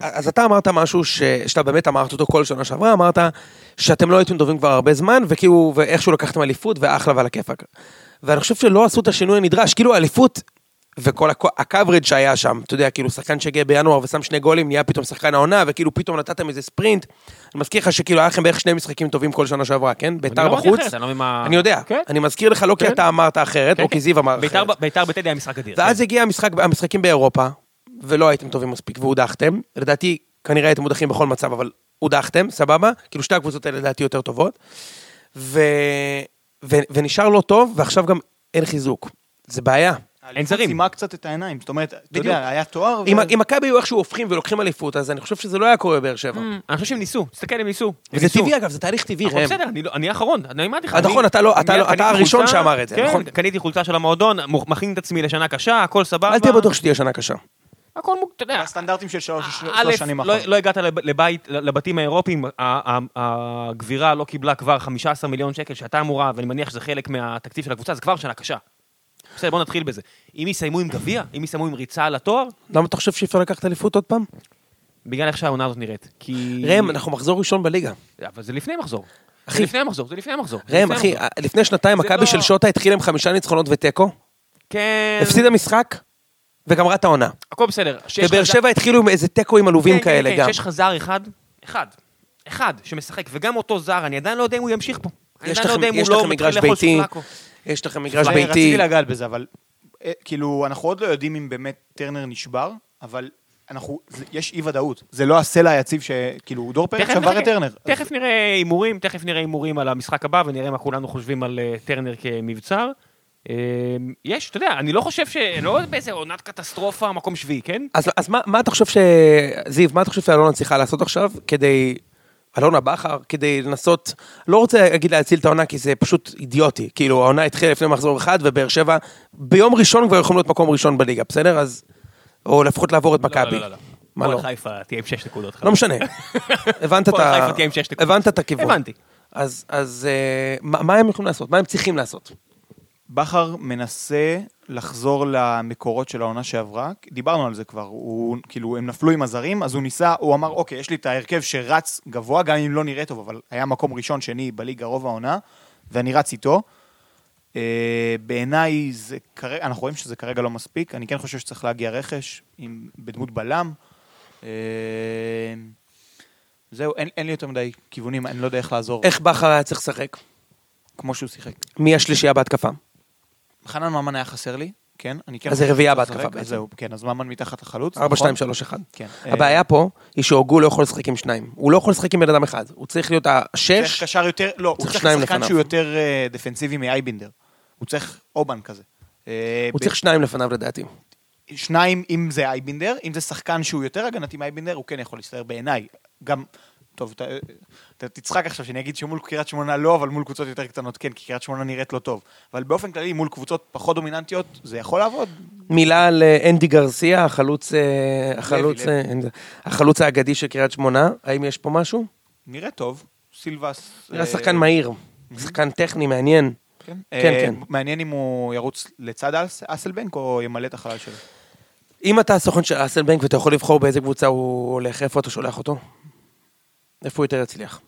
B: אז אתה אמרת משהו ש... שאתה באמת אמרת אותו כל שנה שעברה, אמרת שאתם לא הייתם טובים כבר הרבה זמן, וכאילו, ואיכשהו לקחתם אליפות, ואחלה ועל הכיפאק. ואני חושב שלא עשו את השינוי הנדרש, כאילו האליפות, וכל הכ- הקוורג' שהיה שם, אתה יודע, כאילו שחקן שהגיע בינואר ושם שני גולים, נהיה פתאום שחקן העונה, וכאילו פתאום נתתם איזה ספרינט. אני מזכיר לך שכאילו היה לכם בערך שני משחקים טובים כל שנה שעברה, כן? ביתר
A: לא אמרתי
B: בחוץ.
A: אחרת, אני לא מבין מה-
B: אני יודע.
A: כן.
B: אני מזכיר לך לא כי
A: כן.
B: אתה אמרת אחרת, או כי זיו אמר
A: ביתר
B: אחרת.
A: ב- ביתר בטדי היה משחק אדיר.
B: כן, ואז הגיע המשחק, המשחקים באירופה, ולא הייתם טובים מספיק, והודחתם. לדעתי, כנראה הייתם מודחים בכל מצב, אבל הודחתם, סבבה? כאילו שתי הקבוצות האלה לדעתי יותר טובות. ו... ו... ונשאר לא טוב, ועכשיו גם אין חיזוק. זה בעיה.
A: אין זרים.
C: סיימה קצת את העיניים. זאת אומרת, אתה
B: בדיוק.
C: יודע, היה תואר,
B: אם
C: ואז-
B: אם מכבי היו איכשהו הופכים ולוקחים אליפות, אז אני חושב שזה לא היה קורה בבאר שבע.
A: כן. אני חושב שהם ניסו, תסתכל, הם ניסו. הם
B: וזה
A: ניסו.
B: טבעי אגב, זה תהליך טבעי,
A: אבל
B: ראם.
A: בסדר, אני לא- אני האחרון, אני אמרתי לך.
B: אה,
A: אני-
B: נכון, אתה לא-
A: אני
B: אתה
A: מיד
B: לא- אתה
A: קניתי
B: הראשון
A: חולצה,
B: שאמר את זה,
A: כן,
B: נכון.
A: קניתי חולצה של המועדון, מוכ- מכין את עצמי לשנה קשה, הכל סבבה.
B: אל תהיה בטוח שתהיה שנה קשה.
A: הכל מוק, אתה יודע.
C: הסטנדרטים של שלוש שלוש
A: א',
C: שנים
A: לא-
C: האחרונות.
A: לא הגעת לב- לבית, לבתים האירופיים, ה- ה- הגבירה לא קיבלה כבר 15 מיליון שקל שהייתה אמורה, ואני מניח שזה חלק מהתקציב של הקבוצה, זה כבר שנה קשה. בסדר, בואו נתחיל בזה. אם יסיימו עם גביע, אם יסיימו עם ריצה לתואר,
B: למה אתה חושב שאי אפשר לקחת אליפות עוד פעם?
A: בגלל איך שהעונה הזאת נראית. כי...
B: ראם, אנחנו מחזור ראשון בליגה.
A: אבל זה לפני מחזור.
B: אחי.
A: זה לפני המחזור, זה לפני המחזור. זה
B: ראם,
A: לפני
B: אחי,
A: המחזור.
B: לפני שנתיים
A: זה
B: מכבי
A: לא-
B: של שוטה התחילה עם חמישה ניצחונות ותיקו,
A: כן...
B: הפסידה משחק, וגמרה את העונה.
A: הכל בסדר. שיש
B: בבאר
A: חז-
B: שבע התחילו עם איזה תיקו עם עלובים
A: כן, כן,
B: כאלה
A: כן,
B: גם.
A: שיש לך זר אחד, אחד, אחד שמשחק, וגם אותו זר, אני עדיין לא יודע אם הוא ימשיך פה. אני
B: יש
A: עדיין לא
B: לכם-
A: יודע אם
B: יש
A: הוא לא
B: לכם
A: מתחיל
B: מגרש
A: לאכול
B: ביתי,
A: סופלקו.
B: יש לכם מגרש
C: אה,
B: ביתי.
C: רציתי לגעת בזה, אבל אה, כאילו, אנחנו עוד לא יודעים אם באמת טרנר נשבר, אבל אנחנו, זה- יש אי ודאות. זה לא הסלע היציב שכאילו, דור פרק
A: תכף
C: שבר
A: נחכה.
C: את טרנר.
A: תכף נראה הימורים, תכף נראה הימורים על המשחק הבא, ונראה מה כולנו חושבים על אה, טרנר כמבצר. אה, יש, אתה יודע, אני לא חושב ש... לא באיזה עונת קטסטרופה, מקום שביעי, כן?
B: אז אז מה- מה אתה חושב ש... זיו, מה אתה חושב שאלונה צריכה לעשות עכשיו כדי... אלונה בכר, כדי לנסות... לא רוצה להגיד להציל את העונה, כי זה פשוט אידיוטי. כאילו, העונה התחילה לפני מחזור אחד, ובאר שבע ביום ראשון כבר יכולים להיות מקום ראשון בליגה, בסדר? אז... או לפחות לעבור את מכבי.
A: לא, לא, לא.
B: מה לא?
A: הפועל חיפה תהיה עם שש נקודות.
B: לא משנה. הבנת את
A: הפועל
B: ה...
A: חיפה תהיה עם שש נקודות.
B: הבנת את הכיוון.
A: הבנתי.
B: אז, אז אה, מה, מה הם יכולים לעשות? מה הם צריכים לעשות?
C: בכר מנסה לחזור למקורות של העונה שעברה, דיברנו על זה כבר, הוא, כאילו, הם נפלו עם הזרים, אז הוא ניסה, הוא אמר, אוקיי, יש לי את ההרכב שרץ גבוה, גם אם לא נראה טוב, אבל היה מקום ראשון, שני, בליגה רוב העונה, ואני רץ איתו. אה, בעיניי, זה כרגע, אנחנו רואים שזה כרגע לא מספיק, אני כן חושב שצריך להגיע רכש, עם, בדמות בלם. אה, זהו, אין, אין לי יותר מדי כיוונים, אני לא יודע איך לעזור,
B: איך בכר היה צריך לשחק?
C: כמו שהוא שיחק.
B: מי השלישייה בהתקפה?
A: נכון.
C: חנן ממן היה חסר לי, כן, אני כן...
B: אז זה
C: חושב
B: רביעייה
C: שהוא
B: בהתקפה
C: צודק, אז
B: בעצם.
C: זהו, כן, אז ממן מתחת לחלוץ,
B: 4, 2,
C: נכון?
B: 3, 1.
C: כן.
A: אה,
B: הבעיה פה היא שהוגו לא יכול לשחק עם שניים. הוא לא יכול לשחק עם בן אדם אחד. הוא צריך להיות
C: צריך
B: השש.
C: קשר יותר, לא, הוא
B: צריך
C: צריך
B: שניים
C: שחקן
B: לפניו.
C: שהוא יותר אה, דפנסיבי מאייבינדר. הוא צריך אובן כזה. אה,
B: הוא
C: ב-
B: צריך שניים לפניו לדעתי.
C: שניים, אם זה אייבינדר, אם זה שחקן שהוא יותר הגנתי מאייבינדר, הוא כן יכול להסתער בעיניי. גם, טוב, אתה, אתה תצחק עכשיו שאני אגיד שמול קריית שמונה לא, אבל מול קבוצות יותר קטנות כן, כי קריית שמונה נראית לא טוב. אבל באופן כללי, מול קבוצות פחות דומיננטיות, זה יכול לעבוד.
B: מילה על אה, אנדי גרסיה, החלוץ, אה, החלוץ,
C: לוי.
B: אה, אין זה- החלוץ האגדי של קריית שמונה. האם יש פה משהו?
A: אה,
C: נראה טוב. סילבס...
B: נראה
C: אה,
B: שחקן מהיר.
A: אה,
B: שחקן טכני, מעניין.
C: כן,
B: כן, כן.
C: מעניין אם הוא ירוץ לצד אס- אסלבנק או ימלא את החלל שלו.
B: אם אתה הסוכן של אסלבנק ואתה יכול לבחור באיזה קבוצה הוא הולך, איפה אתה שולח אותו? איפה הוא יותר יצליח?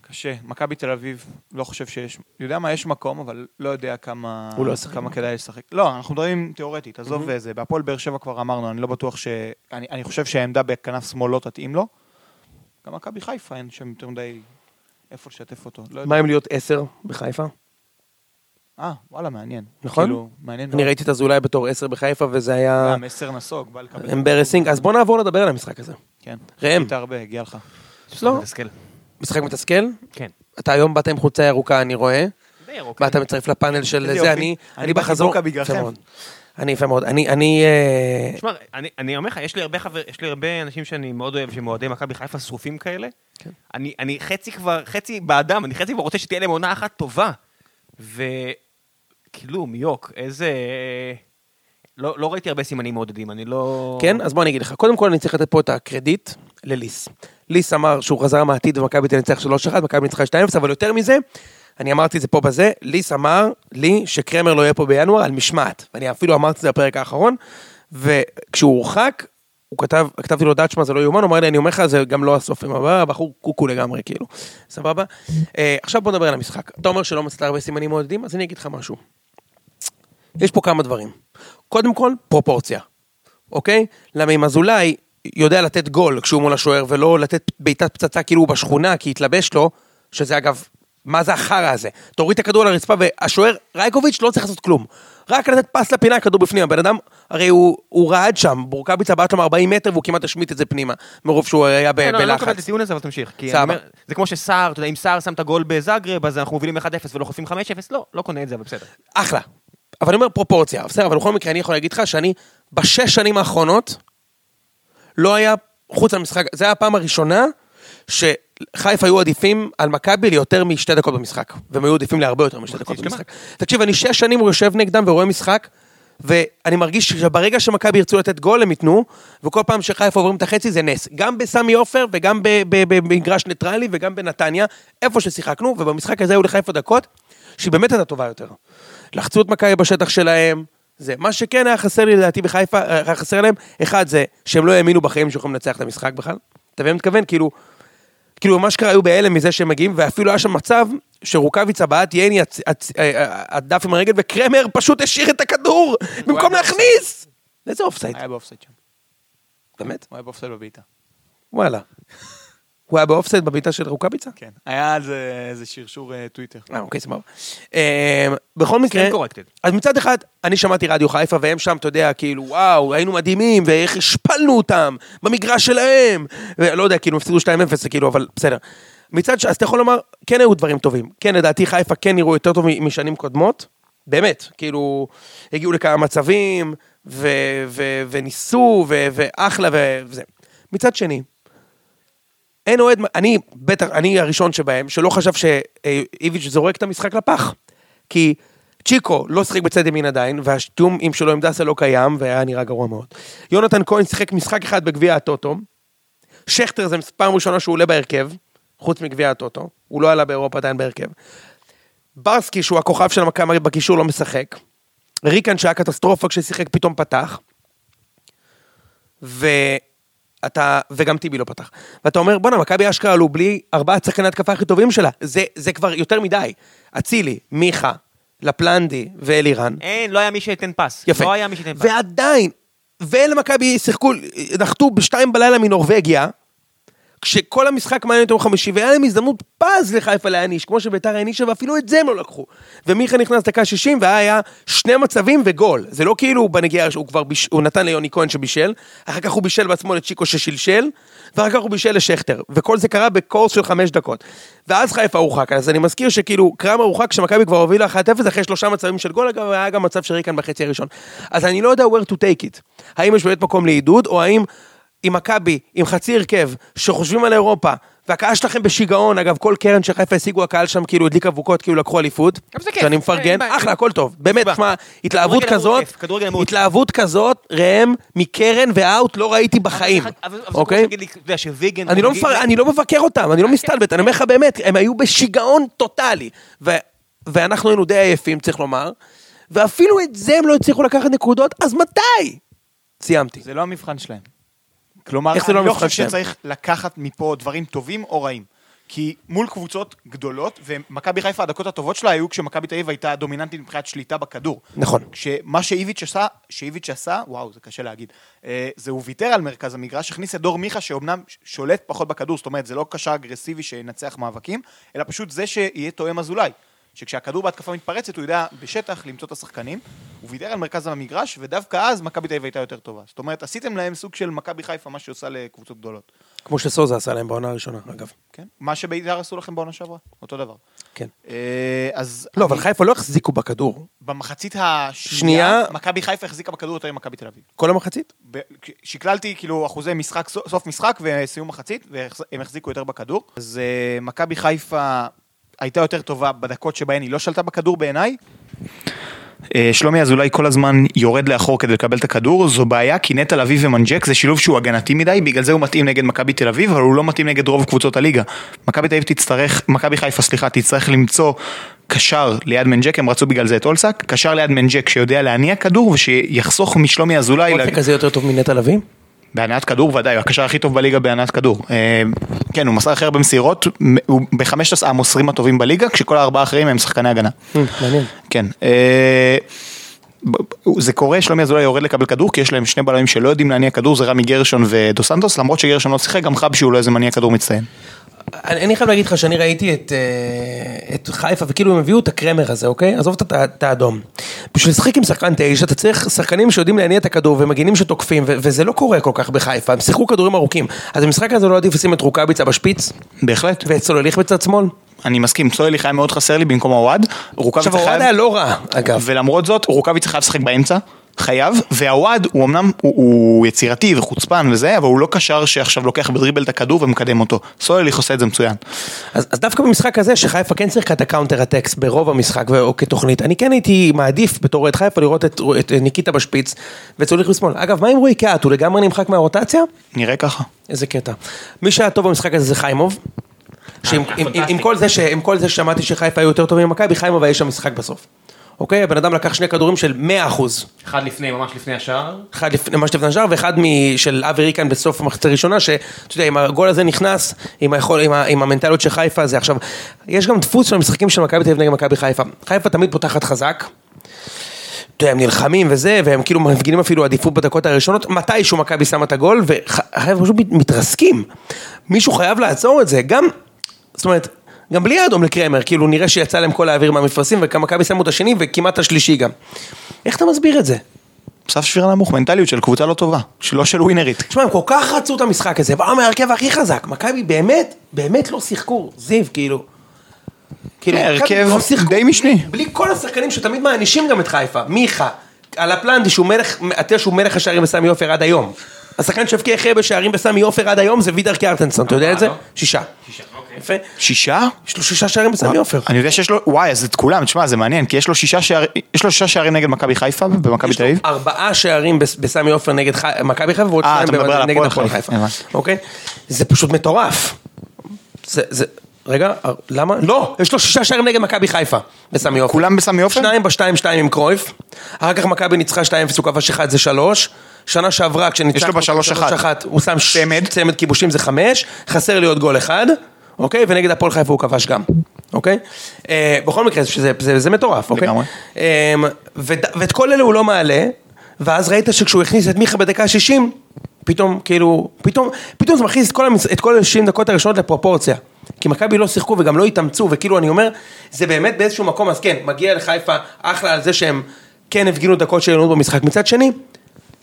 C: קשה. מכבי תל אביב, לא חושב שיש... יודע מה, יש מקום, אבל לא יודע כמה...
B: הוא לא ישחק.
C: כמה כדאי לשחק. לא, אנחנו מדברים תיאורטית, עזוב mm-hmm. זה. בהפועל באר שבע כבר אמרנו, אני לא בטוח ש... אני, אני חושב שהעמדה בכנף שמאל לא תתאים לו. גם מכבי חיפה אין שם יותר מדי איפה לשתף אותו. לא יודע.
B: מה אם להיות עשר בחיפה?
C: אה, וואלה, מעניין.
B: נכון?
C: כאילו, מעניין.
B: אני ראיתי את אזולאי בתור עשר בחיפה וזה היה
C: גם עשר נסוג, בא לקבל... לא,
B: אמברסינג. אז בוא נעבור לדבר על המשחק הזה.
C: כן.
B: ראם.
C: ראית הרבה, הגיע לך.
B: לא.
A: מתסכל.
B: משחק מתסכל?
A: כן.
B: אתה היום באת עם חולצה ירוקה, אני רואה.
A: די ירוק.
B: ואתה מצטרף לפאנל של
C: איזה
B: זה,
C: אוקיי. יופי.
B: אני,
C: אני
B: אני
C: באתי
B: בחזור,
C: בוקה בגללכם.
B: יפה מאוד. אני יפה מאוד, אני, אני, אה,
A: תשמע, אני, אני אומר לך, יש לי הרבה חבר, יש לי הרבה אנשים שאני מאוד אוהב, שהם אוהדי מכבי חיפה שרופים כאלה. כן. אני, אני חצי כבר, חצי באדם, אני חצי כבר רוצה שתהיה להם עונה אחת טובה. וכאילו, מיוק, איזה... לא, לא ראיתי הרבה סימנים מעודדים, אני לא...
B: כן, אז בוא אני אגיד לך, קודם כל אני צריך לתת פה את הקרדיט לליס. ליס אמר שהוא חזר מהעתיד ומכבי תנצח 3-1, מכבי ניצחה 2-0, אבל יותר מזה, אני אמרתי את זה פה בזה, ליס אמר לי שקרמר לא יהיה פה בינואר על משמעת, ואני אפילו אמרתי את זה בפרק האחרון, וכשהוא הורחק, הוא כתב, כתבתי לו דעת שמע זה לא יאומן, הוא אמר לי, אני אומר לך, זה גם לא הסוף, עם הבא, הבחור קוקו לגמרי, כאילו, סבבה? אה, עכשיו בוא נדבר על המשחק. אתה אומר שלא מצאת הרבה סימנים מעודדים, אז אני אגיד לך משהו. יש פה כמה דברים. קודם כל, פרופורציה, אוקיי? למה אם אזולאי יודע לתת גול כשהוא מול השוער, ולא לתת בעיטת פצצה כאילו הוא בשכונה, כי התלבש לו, שזה אגב, מה זה החרא הזה? תוריד את הכדור לרצפה והשוער, רייקוביץ' לא צריך לעשות כלום. רק לתת פס לפינה, הכדור בפנים. הבן אדם, הרי הוא, הוא רעד שם, בורקביצה בעט לו מ-40 מטר והוא כמעט השמיט את זה פנימה, מרוב שהוא היה ב-
A: כן, לא, אני לא מקבל את
B: בלחץ.
A: הטיעון הזה, אבל תמשיך. כי
B: סבבה.
A: אני אומר, זה כמו שסער, אתה יודע, אם סער שם את הגול בזאגרב, אז אנחנו מובילים 1-0 ולא חוטפים 5-0, לא, לא קונה את זה, אבל בסדר.
B: אחלה. אבל אני אומר פרופורציה, בסדר, אבל בכל מקרה אני יכול להגיד לך שאני בשש שנים האחרונות לא היה, חוץ למשחק, זו הייתה הפעם הראשונה שחיפה היו עדיפים על מכבי ליותר משתי דקות במשחק. והם היו עדיפים להרבה יותר משתי דקות
A: שלמה.
B: במשחק. תקשיב, אני שש שנים יושב נגדם ורואה משחק, ואני מרגיש שברגע שמכבי ירצו לתת גול הם ייתנו, וכל פעם שחיפה עוברים את החצי זה נס. גם בסמי עופר וגם ב- ב- ב- במגרש ניטרלי וגם בנתניה, איפה ששיחקנו, ובמשחק הזה היו לחיפה דקות, שהיא באמת הייתה טובה יותר. לחצו את מכבי בשטח שלהם, זה. מה שכן היה חסר לי לדעתי בחיפה, אה, היה חסר להם, אחד זה שהם לא האמינו בחיים שהם יכולים לנצח את המשחק בכלל. אתה מבין מה אני מתכוון? כאילו, כאילו, מה שקרה, היו בהלם מזה שהם מגיעים, ואפילו היה שם מצב שרוקאביצה בעט ייני הצ- הצ- אה, אה, הדף עם הרגל, וקרמר פשוט השאיר את הכדור, במקום להכניס! איזה אופסייד,
C: היה באופסייד שם.
B: באמת?
C: הוא היה באופסייד בבעיטה.
B: וואלה. הוא היה באופסייד בבעיטה של רוקאביצה?
C: כן. היה על זה איזה שרשור אה, טוויטר.
B: אה, אוקיי, סבבה. אה, בכל מקרה,
A: corrected.
B: אז מצד אחד, אני שמעתי רדיו חיפה, והם שם, אתה יודע, כאילו, וואו, היינו מדהימים, ואיך השפלנו אותם, במגרש שלהם, ולא יודע, כאילו, הם הפסידו 2-0, זה כאילו, אבל בסדר. מצד ש... אז אתה יכול לומר, כן היו דברים טובים. כן, לדעתי חיפה כן נראו יותר טוב מ- משנים קודמות, באמת, כאילו, הגיעו לכמה מצבים, ו... ו... וניסו, ו... ואחלה, ו- וזה. מצד שני, אין אוהד, אני בטח, אני הראשון שבהם, שלא חשב שאיביץ' זורק את המשחק לפח. כי צ'יקו לא שיחק בצד ימין עדיין, והתיאום עם שלו עם דסה לא קיים, והיה נראה גרוע מאוד. יונתן כהן שיחק משחק אחד בגביע הטוטו, שכטר זה פעם ראשונה שהוא עולה בהרכב, חוץ מגביע הטוטו, הוא לא עלה באירופה עדיין בהרכב. ברסקי, שהוא הכוכב של מכבי בקישור, לא משחק. ריקן, שהיה קטסטרופה כששיחק, פתאום פתח. ואתה, וגם טיבי לא פתח. ואתה אומר, בואנה, מכבי אשכרה עלו בלי ארבעת שחקני ההתקפה הכי טובים שלה. זה, זה כבר יותר מדי. אצילי, מיכה, לפלנדי ואלירן.
A: אין, לא היה מי שייתן פס.
B: יפה.
A: לא היה מי שייתן פס.
B: ועדיין, ואלה מכבי שיחקו, נחתו בשתיים בלילה מנורבגיה, כשכל המשחק מעניין אותם חמישי, והיה להם הזדמנות פז לחיפה להעניש, כמו שביתר הענישה, ואפילו את זה הם לא לקחו. ומיכה נכנס דקה 60, והיה שני מצבים וגול. זה לא כאילו בנגיעה, שהוא כבר ביש... הוא נתן ליוני כהן שבישל, אחר כך הוא בישל בעצמו לצ'יקו ששלשל, ואחר כך הוא בישל לשכטר. וכל זה קרה בקורס של חמש דקות. ואז חיפה הורחק, אז אני מזכיר שכאילו, קרמה הורחק כשמכבי כבר הובילה 1-0 אחרי שלושה מצבים של גול, אגב, היה גם מצב של ריקן בחצי הראשון. אז אני לא יודע where to take it. האם יש באמת מקום לעידוד, או האם עם מכבי, עם חצי הרכב, שחושבים על אירופה, והקהל שלכם בשיגעון, אגב, כל קרן שחיפה השיגו, הקהל שם כאילו הדליק אבוקות, כאילו לקחו אליפות.
A: אבל זה כיף.
B: שאני
A: אין
B: מפרגן,
A: בעיה.
B: אחלה, הכל טוב. באמת,
A: סבבה.
B: תשמע, התלהבות
A: כדורגל אמור
B: כזאת,
A: כיף, כדורגל אמור כיף.
B: התלהבות כזאת, ראם, מקרן ואאוט לא ראיתי בחיים,
A: אבל- אבל זה כמו
B: אוקיי?
A: שתגיד אוקיי. לי, אתה יודע, שוויגן...
B: אני לא,
A: חוגג-
B: מפר... אני לא מבקר אותם, אני לא מסתלבט, אני אומר לך באמת, הם היו בשיגעון טוטאלי. ו... ואנחנו היינו די עייפים, צריך לומר, ואפילו את זה הם לא הצליחו לקחת נקודות, אז מתי? סיימתי.
C: זה לא המבחן שלהם. כלומר,
B: איך זה
C: אני
B: לא
C: לא
B: המבחן
C: חושב
B: שלהם?
C: שצריך לקחת מפה דברים טובים או רעים. כי מול קבוצות גדולות, ומכבי חיפה, הדקות הטובות שלה היו כשמכבי תל אביב הייתה דומיננטית מבחינת שליטה בכדור.
B: נכון.
C: כשמה שאיביץ' עשה, שאיביץ' עשה, וואו, זה קשה להגיד, אה, זה הוא ויתר על מרכז המגרש, הכניס את דור מיכה, שאומנם ש- שולט פחות בכדור, זאת אומרת, זה לא קשר אגרסיבי שינצח מאבקים, אלא פשוט זה שיהיה תואם אזולאי. שכשהכדור בהתקפה מתפרצת, הוא יודע בשטח למצוא את השחקנים, הוא ויתר על מרכז המגרש, ודווקא אז מכבי תל אביב הייתה יותר טובה. זאת אומרת, עשיתם להם סוג של מכבי חיפה, מה שעושה לקבוצות גדולות.
B: כמו שסוזה עשה להם בעונה הראשונה, אגב.
C: כן? מה שבית"ר עשו לכם בעונה שעברה, אותו דבר.
B: כן.
C: אה, אז...
B: לא, אבל
C: אני-
B: חיפה לא החזיקו בכדור.
C: במחצית השנייה,
B: שנייה.
C: מכבי חיפה החזיקה בכדור יותר ממכבי תל אביב.
B: כל המחצית?
C: ב- שקללתי כאילו אחוזי משחק, סוף סוף משחק וסיום מחצית, והם החזיקו יותר בכדור. אז אה, מכבי חיפה הייתה יותר טובה בדקות שבהן היא לא שלטה בכדור בעיניי. אה, שלומי אזולאי כל הזמן יורד לאחור כדי לקבל את הכדור, זו בעיה כי נטע לביא ומנג'ק זה שילוב שהוא הגנתי מדי, בגלל זה הוא מתאים נגד מכבי תל אביב, אבל הוא לא מתאים נגד רוב קבוצות הליגה. מכבי תל אביב תצטרך, מכבי חיפה סליחה, תצטרך למצוא קשר ליד מנג'ק, הם רצו בגלל זה את אולסק, קשר ליד מנג'ק שיודע להניע כדור ושיחסוך משלומי אזולאי.
B: כל
C: לה-
B: כזה יותר טוב מנטע לביא?
C: בהנעת כדור ודאי, הוא הקשר הכי טוב בליגה בהנעת כדור. אה, כן, הוא מסר הכי הרבה מסירות, מ- הוא בחמשת המוסרים הטובים בליגה, כשכל הארבעה האחרים הם שחקני הגנה.
B: Hmm, מעניין.
C: כן. אה, ב- ב- זה קורה, שלומי אזולאי יורד לקבל כדור, כי יש להם שני בלמים שלא יודעים להניע כדור, זה רמי גרשון ודו סנטוס, למרות שגרשון לא שיחק, גם חבשי הוא לא איזה מניע כדור מצטיין.
B: אני, אני חייב להגיד לך שאני ראיתי את, אה, את חיפה, וכאילו הם הביאו את הקרמר הזה, אוקיי? עזוב את ה- את האדום. בשביל לשחק עם שחקן תשע, אתה צריך שחקנים שיודעים להניע את הכדור ומגינים שתוקפים, ו- וזה לא קורה כל כך בחיפה, הם שיחקו כדורים ארוכים. אז במשחק הזה לא עדיף לשים את רוקאביצה בשפיץ,
C: בהחלט,
B: ואת סולליך בצד שמאל.
C: אני מסכים, צולליך היה מאוד חסר לי במקום הוואד, רוקאביצה
B: עכשיו,
C: חייב-
B: אוהד היה לא רע, אגב.
C: ולמרות זאת, רוקאביצה חייב לשחק באמצע, חייב, והוואד הוא אמנם, הוא, הוא יצירתי וחוצפן וזה, אבל הוא לא קשר שעכשיו לוקח בדריבל את הכדור ומקדם אותו. סולליך עושה את זה מצוין.
B: אז, אז דווקא במשחק הזה, שחיפה כן שיחקה את הקאונטר הטקסט ברוב המשחק ו- או כתוכנית, אני כן הייתי מעדיף בתור אוהד חיפה לראות את, את ניקיטה בשפיץ וצוליך בשמאל. אגב, מה עם רועי קהת? הוא לגמרי נמחק מהרוטציה?
C: נראה ככה.
B: איזה קטע. מי שהיה טוב במשחק הזה זה חיימוב. שעם עם- עם- עם כל זה ש- עם כל זה ששמעתי שחיפה היו יותר טובים ממכבי, חיימוב היה איש המשחק בסוף. אוקיי? הבן אדם לקח שני כדורים של 100%.
A: אחד לפני, ממש לפני השער.
B: אחד לפני, ממש לפני השאר, ואחד מ- של אבי ריקן בסוף המחצית הראשונה, שאתה יודע, אם הגול הזה נכנס, עם, היכול, עם, ה- עם המנטליות של חיפה, זה עכשיו, יש גם דפוס של המשחקים של מכבי תל אביב נגד מכבי חיפה. חיפה תמיד פותחת חזק. אתה יודע, הם נלחמים וזה, והם כאילו מפגינים אפילו עדיפות בדקות הראשונות, מתישהו מכבי שמה את הגול, וחיפה פשוט מת- מתרסקים. מישהו חייב לעצור את זה, גם, זאת אומרת, גם בלי האדום לקרמר, כאילו נראה שיצא להם כל האוויר מהמפרשים, ומכבי שמו את השני וכמעט את השלישי גם. איך אתה מסביר את זה?
C: סף שפיר נמוך, מנטליות של קבוצה לא טובה, שלא של ווינרית.
B: תשמע, הם כל כך רצו את המשחק הזה, באו מההרכב הכי חזק. מכבי באמת, באמת לא שיחקו. זיו, כאילו. כאילו,
C: כן,
B: מכבי
C: הרכב
B: לא שיחקו.
C: די משני.
B: בלי כל השחקנים שתמיד מענישים גם את חיפה. מיכה, על הפלנדי, שהוא מלך, אתה יודע שהוא מלך השערים בסמי עופר עד היום. השחקן שהבקיע הכי הרבה שערים בסמי עופר עד היום זה וידר קיארטנסון, אתה
C: אה,
B: יודע את זה?
A: לא?
B: שישה.
C: אוקיי.
B: יפה.
C: שישה?
B: יש לו שישה שערים בסמי עופר.
C: אני יודע שיש לו, וואי, אז את כולם, תשמע, זה מעניין, כי יש לו שישה שערים, יש לו שישה שערים נגד מכבי חיפה, במכבי
B: יש
C: תל
B: לו
C: אביב.
B: ארבעה שערים בס- בסמי עופר נגד חי- מכבי חיפה ועוד
C: אה,
B: שניים
C: אתה מדבר
B: במד-
C: על
B: נגד
C: הפועל
B: הפועל
C: חיפה.
B: חיפה. אוקיי? זה פשוט מטורף. זה, זה, רגע, אה, למה? לא, יש לו שישה שערים נגד מכבי חיפה בסמי עופר.
C: כולם בסמי עופר?
B: שניים בשתיים שתיים עם קרויף. אחר כך מכבי ניצחה שתיים וכבש אחד זה שלוש. שנה שעברה
C: יש
B: כשניצחנו...
C: לו בשלוש
B: שלוש
C: אחת.
B: אחת, הוא שם ש-
C: צמד.
B: צמד כיבושים זה חמש, חסר לי עוד גול אחד, אוקיי? ונגד הפועל חיפה הוא כבש גם, אוקיי? אה, בכל מקרה, שזה, זה, זה מטורף, אוקיי?
C: לגמרי.
B: אה, וד- ואת כל אלה הוא לא מעלה, ואז ראית שכשהוא הכניס את מיכה בדקה ה-60, פתאום, כאילו, פתאום, פתאום זה מכניס את כל, המצ... את כל ה-60 דקות הראשונות לפרופורציה. כי מכבי לא שיחקו וגם לא התאמצו, וכאילו אני אומר, זה באמת באיזשהו מקום, אז כן, מגיע לחיפה אחלה על זה שהם כן הפגינו דקות של עליונות במשחק. מצד שני,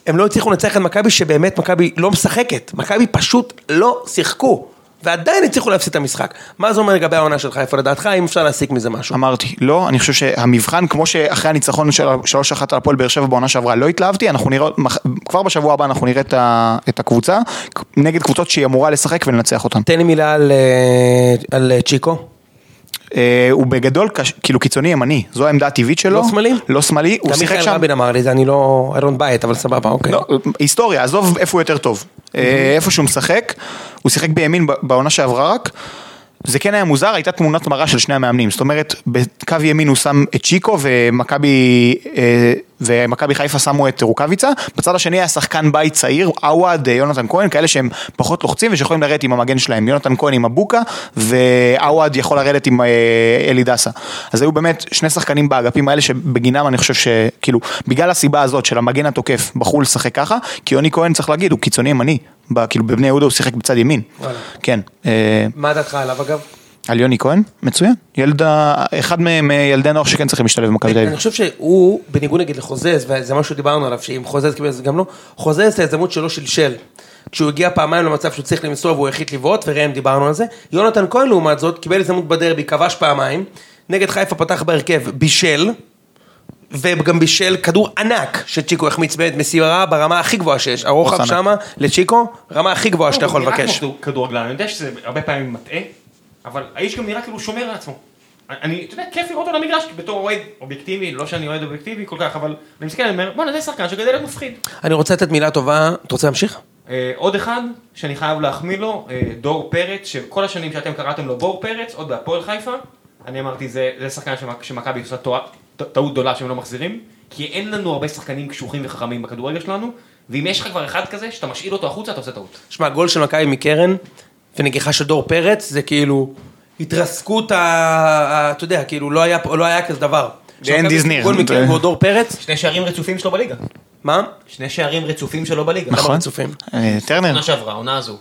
B: הם לא הצליחו לנצח את מכבי שבאמת מכבי לא משחקת. מכבי פשוט לא שיחקו. ועדיין הצליחו להפסיד את המשחק. מה זה אומר לגבי העונה של חיפה לדעתך, אם אפשר להסיק מזה משהו?
C: אמרתי, לא, אני חושב שהמבחן, כמו שאחרי הניצחון של 3-1 על הפועל באר שבע בעונה שעברה, לא התלהבתי, אנחנו נראה, מח- כבר בשבוע הבא אנחנו נראה את ה- את הקבוצה, נגד קבוצות שהיא אמורה לשחק ולנצח אותן.
B: תן לי מילה על, אה, על אה, צ'יקו.
C: אה, הוא בגדול, קש- כאילו קיצוני ימני, זו העמדה הטבעית שלו.
B: לא שמאלי?
C: לא שמאלי, הוא
B: גם
C: שיחק
B: מיכאל
C: שם.
B: רבין אמר לי, זה אני לא... I don't buy it, אבל סבבה, אוקיי.
C: לא, היסטוריה, עזוב איפה הוא יותר טוב. אה, איפה שהוא משחק, הוא שיחק בימין ב- בעונה שעברה רק. זה כן היה מוזר, הייתה תמונת מראה של שני המאמנים. זאת אומרת, בקו ימין הוא שם את צ'יקו ומכבי אה, ומכבי חיפה שמו את רוקאביצה. בצד השני היה שחקן בית צעיר, עווד, אה, יונתן כהן, כאלה שהם פחות לוחצים ושיכולים לרדת עם המגן שלהם. יונתן כהן עם הבוקה ועווד יכול לרדת עם אה, אלי דסה. אז היו באמת שני שחקנים באגפים האלה שבגינם אני חושב שכאילו, בגלל הסיבה הזאת של המגן התוקף, בחרו לשחק ככה, כי יוני כהן צריך להגיד, הוא קיצוני ימני. ב- כאילו בבני יהודה הוא שיחק בצד ימין.
B: וואלה.
C: כן. אה,
B: מה דעתך עליו אגב?
C: על יוני כהן? מצוין. ילד, ה- אחד מ- מילדי הנוער שכן צריכים להשתלב במכבי תל
B: אני
C: אביב.
B: חושב שהוא, בניגוד נגיד לחוזז, וזה משהו שדיברנו עליו, שאם חוזז קיבל זה גם לא, חוזז את ההזדמנות שלו שלשל. כשהוא הגיע פעמיים למצב שהוא צריך למסור והוא החליט לבעוט, וראם דיברנו על זה. יונתן כהן לעומת זאת, קיבל הזדמנות בדרבי, כבש פעמיים, נגד חיפה פתח בהרכב, בישל, וגם בישל כדור ענק שצ'יקו החמיץ באמת מסירה ברמה הכי גבוהה שיש. הרוחב
C: ענק.
B: שמה לצ'יקו, רמה הכי גבוהה שאתה יכול
A: הוא נראה
B: לבקש.
A: כמו כדור- כדורגלן, אני יודע שזה הרבה פעמים מטעה, אבל האיש גם נראה כאילו הוא שומר על עצמו. אני, אתה יודע, כיף לראות אותו על המגרש, כי בתור אוהד אובייקטיבי, לא שאני אוהד אובייקטיבי כל כך, אבל אני מסתכל, אני אומר, בואנה, זה שחקן שגדל להיות מפחיד.
B: אני רוצה לתת מילה טובה, אתה רוצה להמשיך?
A: אה, עוד אחד שאני חייב להחמיא לו, אה, דור פרץ, שכל השנים שאתם קראתם לו בור פרץ, עוד בהפועל חיפה, אני אמרתי, זה, זה שחקן שמק- שמכבי עושה טועה- ט- טעות גדולה שהם לא מחזירים, כי אין לנו הרבה שחקנים קשוחים וחכמים בכדורגל שלנו, ואם יש לך כבר אחד כזה, שאתה משאיל אותו החוצה, אתה עושה טעות.
B: שמע, גול של מכבי מקרן ונגיחה של דור פרץ, זה כאילו התרסקות ה... ה- אתה יודע, כאילו לא היה, לא היה כזה דבר.
C: ואין דיזניר. אה.
B: גול מקרן ועוד דור פרץ,
A: שני שערים רצופים שלו בליגה.
B: מה?
A: שני שערים רצופים שלו בליגה.
B: נכון. רצופים.
C: אה, טרנר.
A: עונה שעברה, העונה הזו.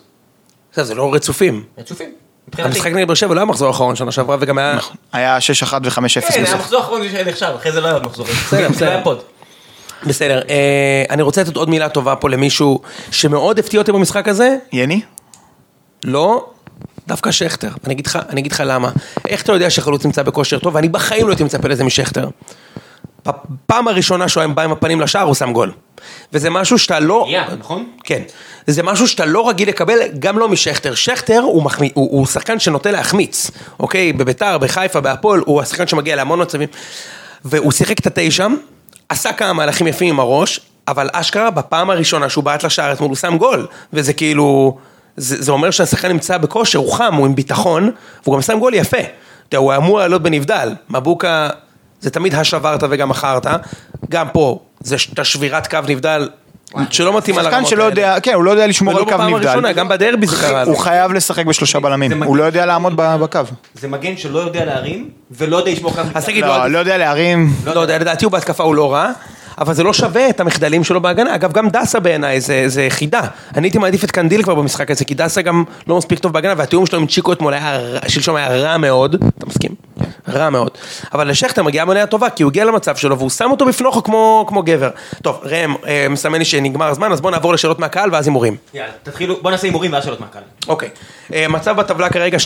B: עכשיו, זה לא רצופים.
A: רצופים. מבחינתי.
B: המשחק נגד באר שבע לא היה מחזור האחרון שנה שעברה וגם היה...
C: נכון. היה 6-1 ו-5-0
A: כן, היה
C: בסוף.
A: המחזור האחרון זה שנחשב, אחרי זה לא היה עוד מחזורים.
B: בסדר, בסדר.
A: לא היה פוד.
B: בסדר, אה, אני רוצה לתת עוד מילה טובה פה למישהו שמאוד הפתיע אותי במשחק הזה,
C: יני?
B: לא, דווקא שכטר. אני אגיד לך, אני אגיד לך למה. איך אתה יודע שחלוץ נמצא בכושר טוב, ואני בחיים לא הייתי מצפה לזה משכטר. בפעם הראשונה שהוא היה בא עם הפנים לשער, הוא שם גול. וזה משהו שאתה לא...
A: מיד, נכון?
B: כן. זה משהו שאתה לא רגיל לקבל, גם לא משכטר. שכטר הוא, מחמי, הוא, הוא שחקן שנוטה להחמיץ, אוקיי? בביתר, בחיפה, בהפועל, הוא השחקן שמגיע להמון מצבים. והוא שיחק את התשע, עשה כמה מהלכים יפים עם הראש, אבל אשכרה בפעם הראשונה שהוא בעט לשער אתמול הוא שם גול, וזה כאילו... זה, זה אומר שהשחקן נמצא בכושר, הוא חם, הוא עם ביטחון, והוא גם שם גול יפה. אתה יודע, הוא אמור לעלות בנבדל. מבוקה, זה תמיד השברת וגם מכרת. גם פה, זה ש- את השבירת קו נבדל, שלא מתאים על הרמות
C: שחקן
B: האלה.
C: שלא יודע, כן, הוא לא יודע לשמור על
B: ולא
C: קו נבדל.
B: בפעם הראשונה, גם בדרבי זה קרה.
C: הוא חייב לשחק בשלושה בלמים,
A: מגניב.
C: הוא לא יודע לעמוד ב- בקו.
A: זה מגן שלא יודע להרים, ולא יודע לשמור כמה...
B: אז תגיד,
C: לא,
B: לא,
C: לא יודע להרים.
B: לא יודע, לדעתי הוא בהתקפה הוא לא רע, אבל זה לא שווה את המחדלים שלו בהגנה. אגב, גם דסה בעיניי זה, זה חידה. אני הייתי מעדיף את קנדיל כבר במשחק הזה, כי דסה גם לא מספיק טוב בהגנה, והתיאום שלו עם צ'יקו אתמול היה, ר- שלשום היה רע מאוד, אתה מסכים? רע מאוד. אבל לשכטר מגיעה מניה טובה, כי הוא הגיע למצב שלו והוא שם אותו בפנוכו כמו, כמו גבר. טוב, ראם, אה, מסמן לי שנגמר הזמן, אז בואו נעבור לשאלות מהקהל ואז הימורים.
A: יאללה, תתחילו, בוא נעשה הימורים ואז שאלות מהקהל.
B: אוקיי. אה, מצב בטבלה כרגע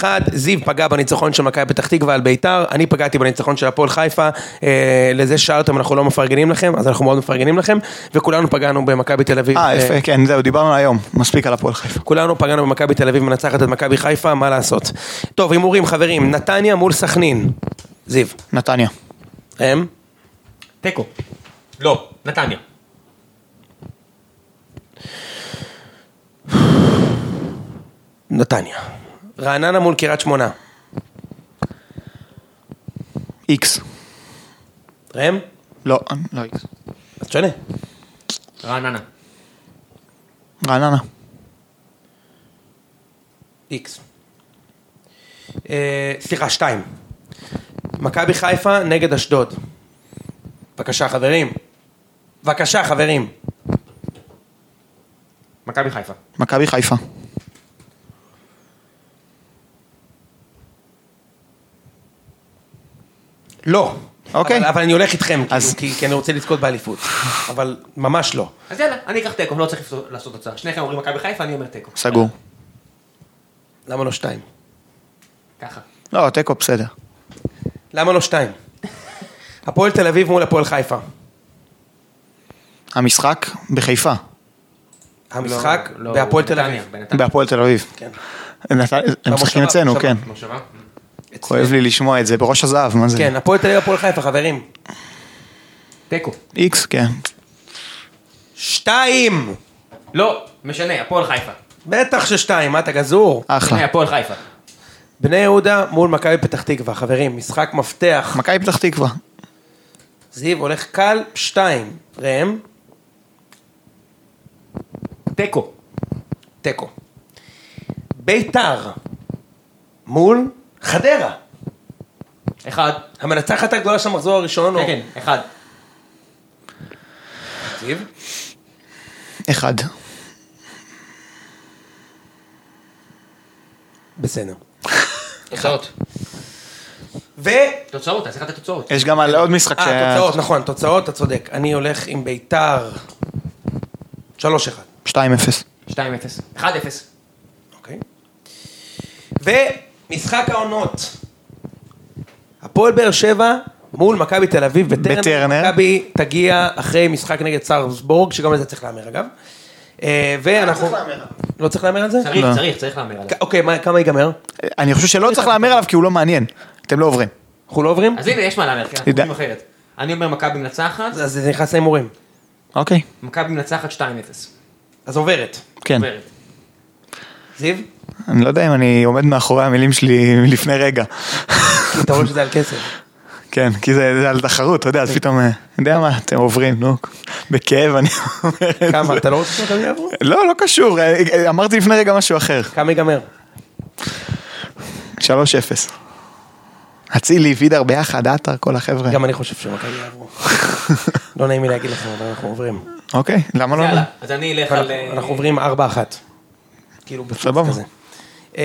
B: 2-2-1, זיו פגע בניצחון של מכבי פתח תקווה על ביתר, אני פגעתי בניצחון של הפועל חיפה, אה, לזה שאלתם אנחנו לא מפרגנים לכם, אז אנחנו מאוד מפרגנים לכם, וכולנו פגענו במכבי תל אביב.
C: אה, יפה, כן, זהו, דיברנו היום. מספיק על הפועל חיפה.
B: כולנו פגענו במכבי תל אביב מנצחת את מכבי חיפה, מה לעשות. טוב, הימורים חברים, נתניה מול סכנין, זיו,
C: נתניה.
B: הם?
A: תיקו. לא, נתניה.
B: נתניה. רעננה מול קריית שמונה,
C: איקס.
B: ראם?
C: לא, אני- לא איקס.
B: אז תשנה.
A: רעננה.
C: רעננה.
B: איקס. אה, סליחה, שתיים. מכבי חיפה נגד אשדוד. בבקשה חברים. בבקשה חברים.
A: מכבי חיפה.
C: מכבי חיפה.
B: לא.
C: אוקיי.
B: אבל, אבל אני הולך איתכם,
C: אז-
B: כאילו, כי, כי אני רוצה לזכות באליפות. אבל ממש לא.
A: אז יאללה, אני אקח תיקו, לא צריך לעשות- לעשות הצעה. שניכם אומרים מכבי חיפה, אני אומר תיקו.
C: סגור.
B: למה לא שתיים?
A: ככה.
C: לא, תיקו בסדר.
B: למה לא שתיים? הפועל תל אביב מול הפועל חיפה.
C: המשחק בחיפה.
B: המשחק
A: לא, לא,
B: בהפועל תל
A: בנתניה,
B: אביב.
A: בנתניה.
C: בהפועל תל אביב.
B: כן. לא,
C: נת- הם משחקים אצלנו,
B: במושבה.
C: כן.
A: מושבה?
C: כואב לי לשמוע את זה, בראש הזהב, מה זה?
B: כן, הפועל תל אביב, הפועל חיפה, חברים.
A: תיקו.
C: איקס, כן.
B: שתיים!
A: לא, משנה, הפועל חיפה.
B: בטח ששתיים, מה אתה גזור?
A: משנה,
C: אחלה.
A: הפועל חיפה.
B: בני יהודה מול מכבי פתח תקווה, חברים, משחק מפתח.
C: מכבי פתח תקווה.
B: זיו הולך קל, שתיים. ראם,
A: תיקו.
B: תיקו. ביתר מול חדרה.
A: אחד.
B: המנצחת הגדולה של המחזור הראשון,
A: כן,
B: או
A: כן, אחד.
B: זיו?
C: אחד.
B: בסדר.
A: תוצאות.
B: ו...
A: תוצאות, אתה צריך לתת תוצאות.
C: יש גם על עוד משחק ש...
B: אה, תוצאות, נכון, תוצאות, אתה צודק. אני הולך עם ביתר 3-1,
C: 2-0.
A: 2-0. 1-0.
B: אוקיי? ומשחק העונות. הפועל באר שבע מול מכבי תל אביב בטרנר.
C: בטרנר.
B: מכבי תגיע אחרי משחק נגד סארסבורג, שגם על זה צריך להמר אגב. אה, ואנחנו... לא צריך להמר על זה?
A: צריך,
C: לא.
A: צריך, צריך להמר עליו.
B: כ- אוקיי, מה- כמה ייגמר?
C: אני חושב שלא צריך להמר עליו כי הוא לא מעניין. אתם לא עוברים.
B: אנחנו לא עוברים?
A: אז הנה, יש מה להמר, כן, אנחנו
C: תדע.
A: עושים אחרת. אני אומר מכבי מנצחת,
B: אז זה נכנס להימורים.
C: אוקיי.
A: מכבי מנצחת 2-0.
B: אז עוברת.
C: כן.
A: עוברת.
B: זיו?
C: אני לא יודע אם אני עומד מאחורי המילים שלי מלפני רגע.
B: כי אתה רואה שזה על כסף.
C: כן, כי זה זה על תחרות, אתה יודע,
B: כן.
C: אז פתאום, אה, יודע מה, אתם עוברים, נו. בכאב אני אומר את זה.
B: כמה? אתה לא רוצה שהם יעברו?
C: לא, לא קשור, אה, אה, אמרתי לפני רגע משהו אחר.
B: כמה ייגמר?
C: 3-0. אצילי, וידר ביחד, עטר, כל החבר'ה.
B: גם אני חושב שמכבי יעברו. לא נעים לי להגיד לכם, אבל אנחנו עוברים.
C: אוקיי, למה לא?
A: יאללה, אז אני אלך על... אה,
B: אנחנו- אנחנו עוברים 4-1. כאילו בטוח
C: סבבה.
B: כזה. אה,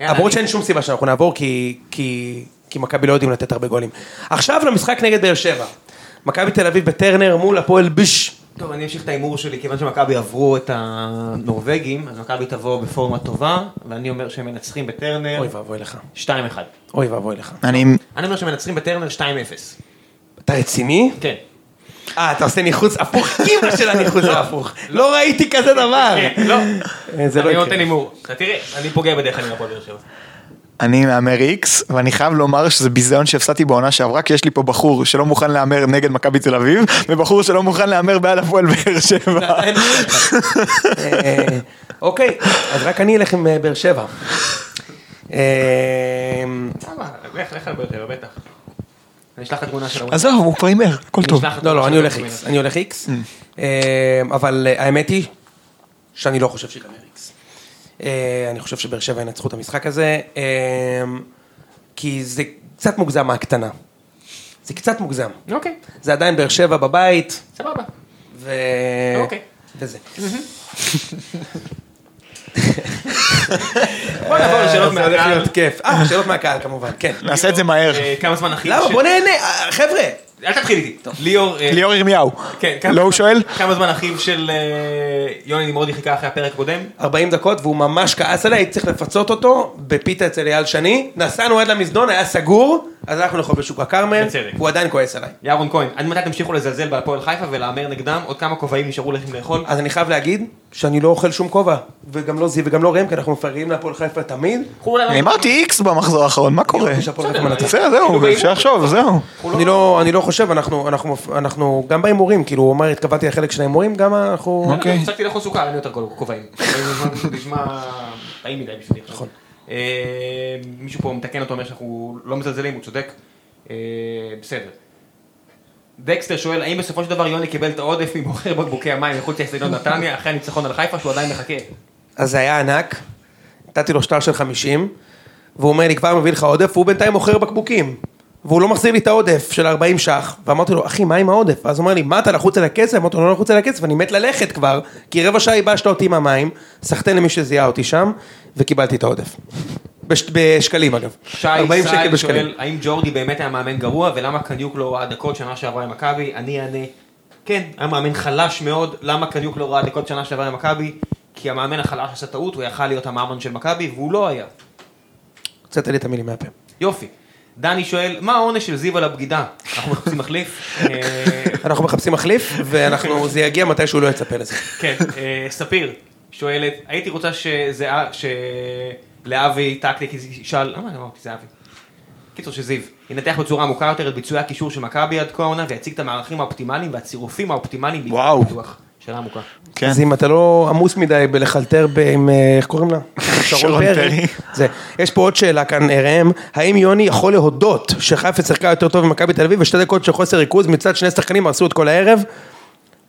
A: יאללה,
B: למרות
A: אני-
B: שאין שום סיבה שאנחנו נעבור, כי- כי כי מכבי לא יודעים לתת הרבה גולים. עכשיו למשחק נגד באר שבע. מכבי תל אביב בטרנר מול הפועל ביש.
A: טוב, אני אמשיך את ההימור שלי, כיוון שמכבי עברו את הנורבגים, אז מכבי תבוא בפורמה טובה, ואני אומר שהם מנצחים בטרנר
B: אוי ואבוי לך.
A: 2-1.
B: אוי ואבוי לך.
C: אני...
A: אני אומר שהם מנצחים בטרנר 2-0.
B: אתה רציני?
A: כן.
B: אה, אתה עושה ניחוץ הפוך, אימא של הניחוץ ההפוך. לא ראיתי כזה דבר.
A: כן, לא.
B: אה, זה לא
A: אני
B: יקרה.
A: נותן הימור. אתה תראה, אני פוגע בדרך כלל עם הפועל באר שבע.
C: אני מהמר איקס, ואני חייב לומר שזה ביזיון שהפסדתי בעונה שעברה, כי יש לי פה בחור שלא מוכן להמר נגד מכבי תל אביב, ובחור שלא מוכן להמר בעד הפועל באר שבע.
B: אה, אוקיי, אז רק אני אלך עם אה, באר שבע. אה,
A: למה? לך, לך על באר שבע, בטח. אני אשלח לך תמונה של המונח.
C: עזוב, הוא כבר הימר, הכל טוב.
B: לא, לא, אני הולך איקס, אני הולך איקס, אה, אבל אה, האמת היא שאני לא חושב שיגמר איקס. אה, אני חושב שבאר שבע ינצחו את המשחק הזה, אה, כי זה קצת מוגזם מהקטנה. זה קצת מוגזם.
A: אוקיי,
B: זה עדיין באר שבע בבית,
A: סבבה.
B: ו...
A: אוקיי.
B: וזה.
A: בוא נעבור לשאלות
B: אה, זה הולך
A: מהקהל.
B: להיות כיף. אה, שאלות מהקהל כמובן, כן.
C: נעשה את זה מהר.
A: אה, כמה זמן הכי...
B: למה? בוא נהנה, אה, חבר'ה,
A: אל תתחיל איתי. ליאור... אה,
C: ליאור ירמיהו.
A: כן,
C: לא הוא שואל?
A: כמה זמן אחיו של אה, יוני נמרודי חיכה אחרי הפרק הקודם?
B: 40 דקות, והוא ממש כעס עליי, הייתי צריך לפצות אותו בפיתה אצל אייל שני. נסענו עד למזנון, היה סגור, אז הלכנו לאכול בשוק הכרמל,
A: בצדק.
B: והוא עדיין כועס עליי.
A: ירון כהן, עד מתי תמשיכו לזלזל בהפועל חיפה ולהמר נגדם? עוד כמה כובעים נשארו לכם לאכול?
B: אז אני חייב להגיד שאני לא אוכל שום כובע, וגם לא זיו וגם לא ראם, כי אנחנו מפרגנים להפועל חיפה תמיד.
A: קחו אולי-
C: אני אמרתי איקס במחזור האחרון, מה קורה?
B: יש הפועל חיפה מנצחת.
C: כן. בסדר, זהו,
A: כאילו,
C: אפשר לחשוב, זהו.
B: אני לא, אני לא חושב, אנחנו, אנחנו, אנחנו גם בהימורים, כאילו, הוא אמר, התכוונתי לחלק של ההימורים, גם אנחנו...
C: אוקיי.
A: לא, הפסקתי לאכול סוכר, אין לי יותר כובעים. זה נשמע טעים מדי בשבילי עכשיו. אה, מישהו פה מתקן אותו, אומר שאנחנו לא מזלזלים, הוא צודק. אה, בסדר. דקסטר שואל, האם בסופו של דבר יוני קיבל את העודף ממוכר בקבוקי המים מחוץ לאצטדיון נתניה, אחרי הניצחון על חיפה, שהוא עדיין מחכה?
B: אז זה היה ענק, נתתי לו שטר של 50, והוא אומר לי, כבר מביא לך עודף, והוא בינתיים מוכר בקבוקים. והוא לא מחזיר לי את העודף של 40 ש"ח, ואמרתי לו, אחי, מה עם העודף? אז הוא אומר לי, מה, אתה לחוץ על הכסף? אמרתי לו, לא לחוץ על הכסף, אני מת ללכת כבר, כי רבע שעה ייבשת אותי עם המים, סחטיין למי שזיהה אותי שם, וקיבלתי את העודף. בש... בשקלים אגב.
A: שי
B: 40 שקל
A: סעד
B: בשקלים.
A: שואל, האם ג'ורדי באמת היה מאמן גרוע, ולמה קניוק לא ראה דקות שנה שעברה עם מכבי? אני אענה, כן, היה מאמן חלש מאוד, למה קניוק לא ראה דקות שנה שעברה עם מכבי? כי המאמן החלש עשה טעות, הוא יכל להיות המאמן של מכבי, והוא לא היה.
B: הוצאת לי את המילים מהפה.
A: יופי. דני שואל, מה העונש של זיו על הבגידה? אנחנו מחפשים מחליף. אה,
B: אנחנו מחפשים מחליף, ואנחנו, זה יגיע מתי שהוא לא יצפה לזה.
A: כן, אה, ספיר שואלת, הייתי רוצה שזה- אה, שלהבי טקטיק ישאל, למה אני אמרתי זהבי? קיצור שזיו, ינתח בצורה עמוקה יותר את ביצועי הקישור של מכבי עד כה העונה ויציג את המערכים האופטימליים והצירופים האופטימליים בעקבות
C: וואו.
A: הפיתוח. שאלה עמוקה.
C: כן.
B: אז אם אתה לא עמוס מדי בלחלטר ב- עם, אה, איך קוראים לה? שרון פרי. זה. יש פה עוד שאלה כאן, אה, ראם, האם יוני יכול להודות שחיפה שיחקה יותר טוב ממכבי תל אביב ושתי דקות של חוסר ריכוז מצד שני שחקנים הרסו את כל הערב?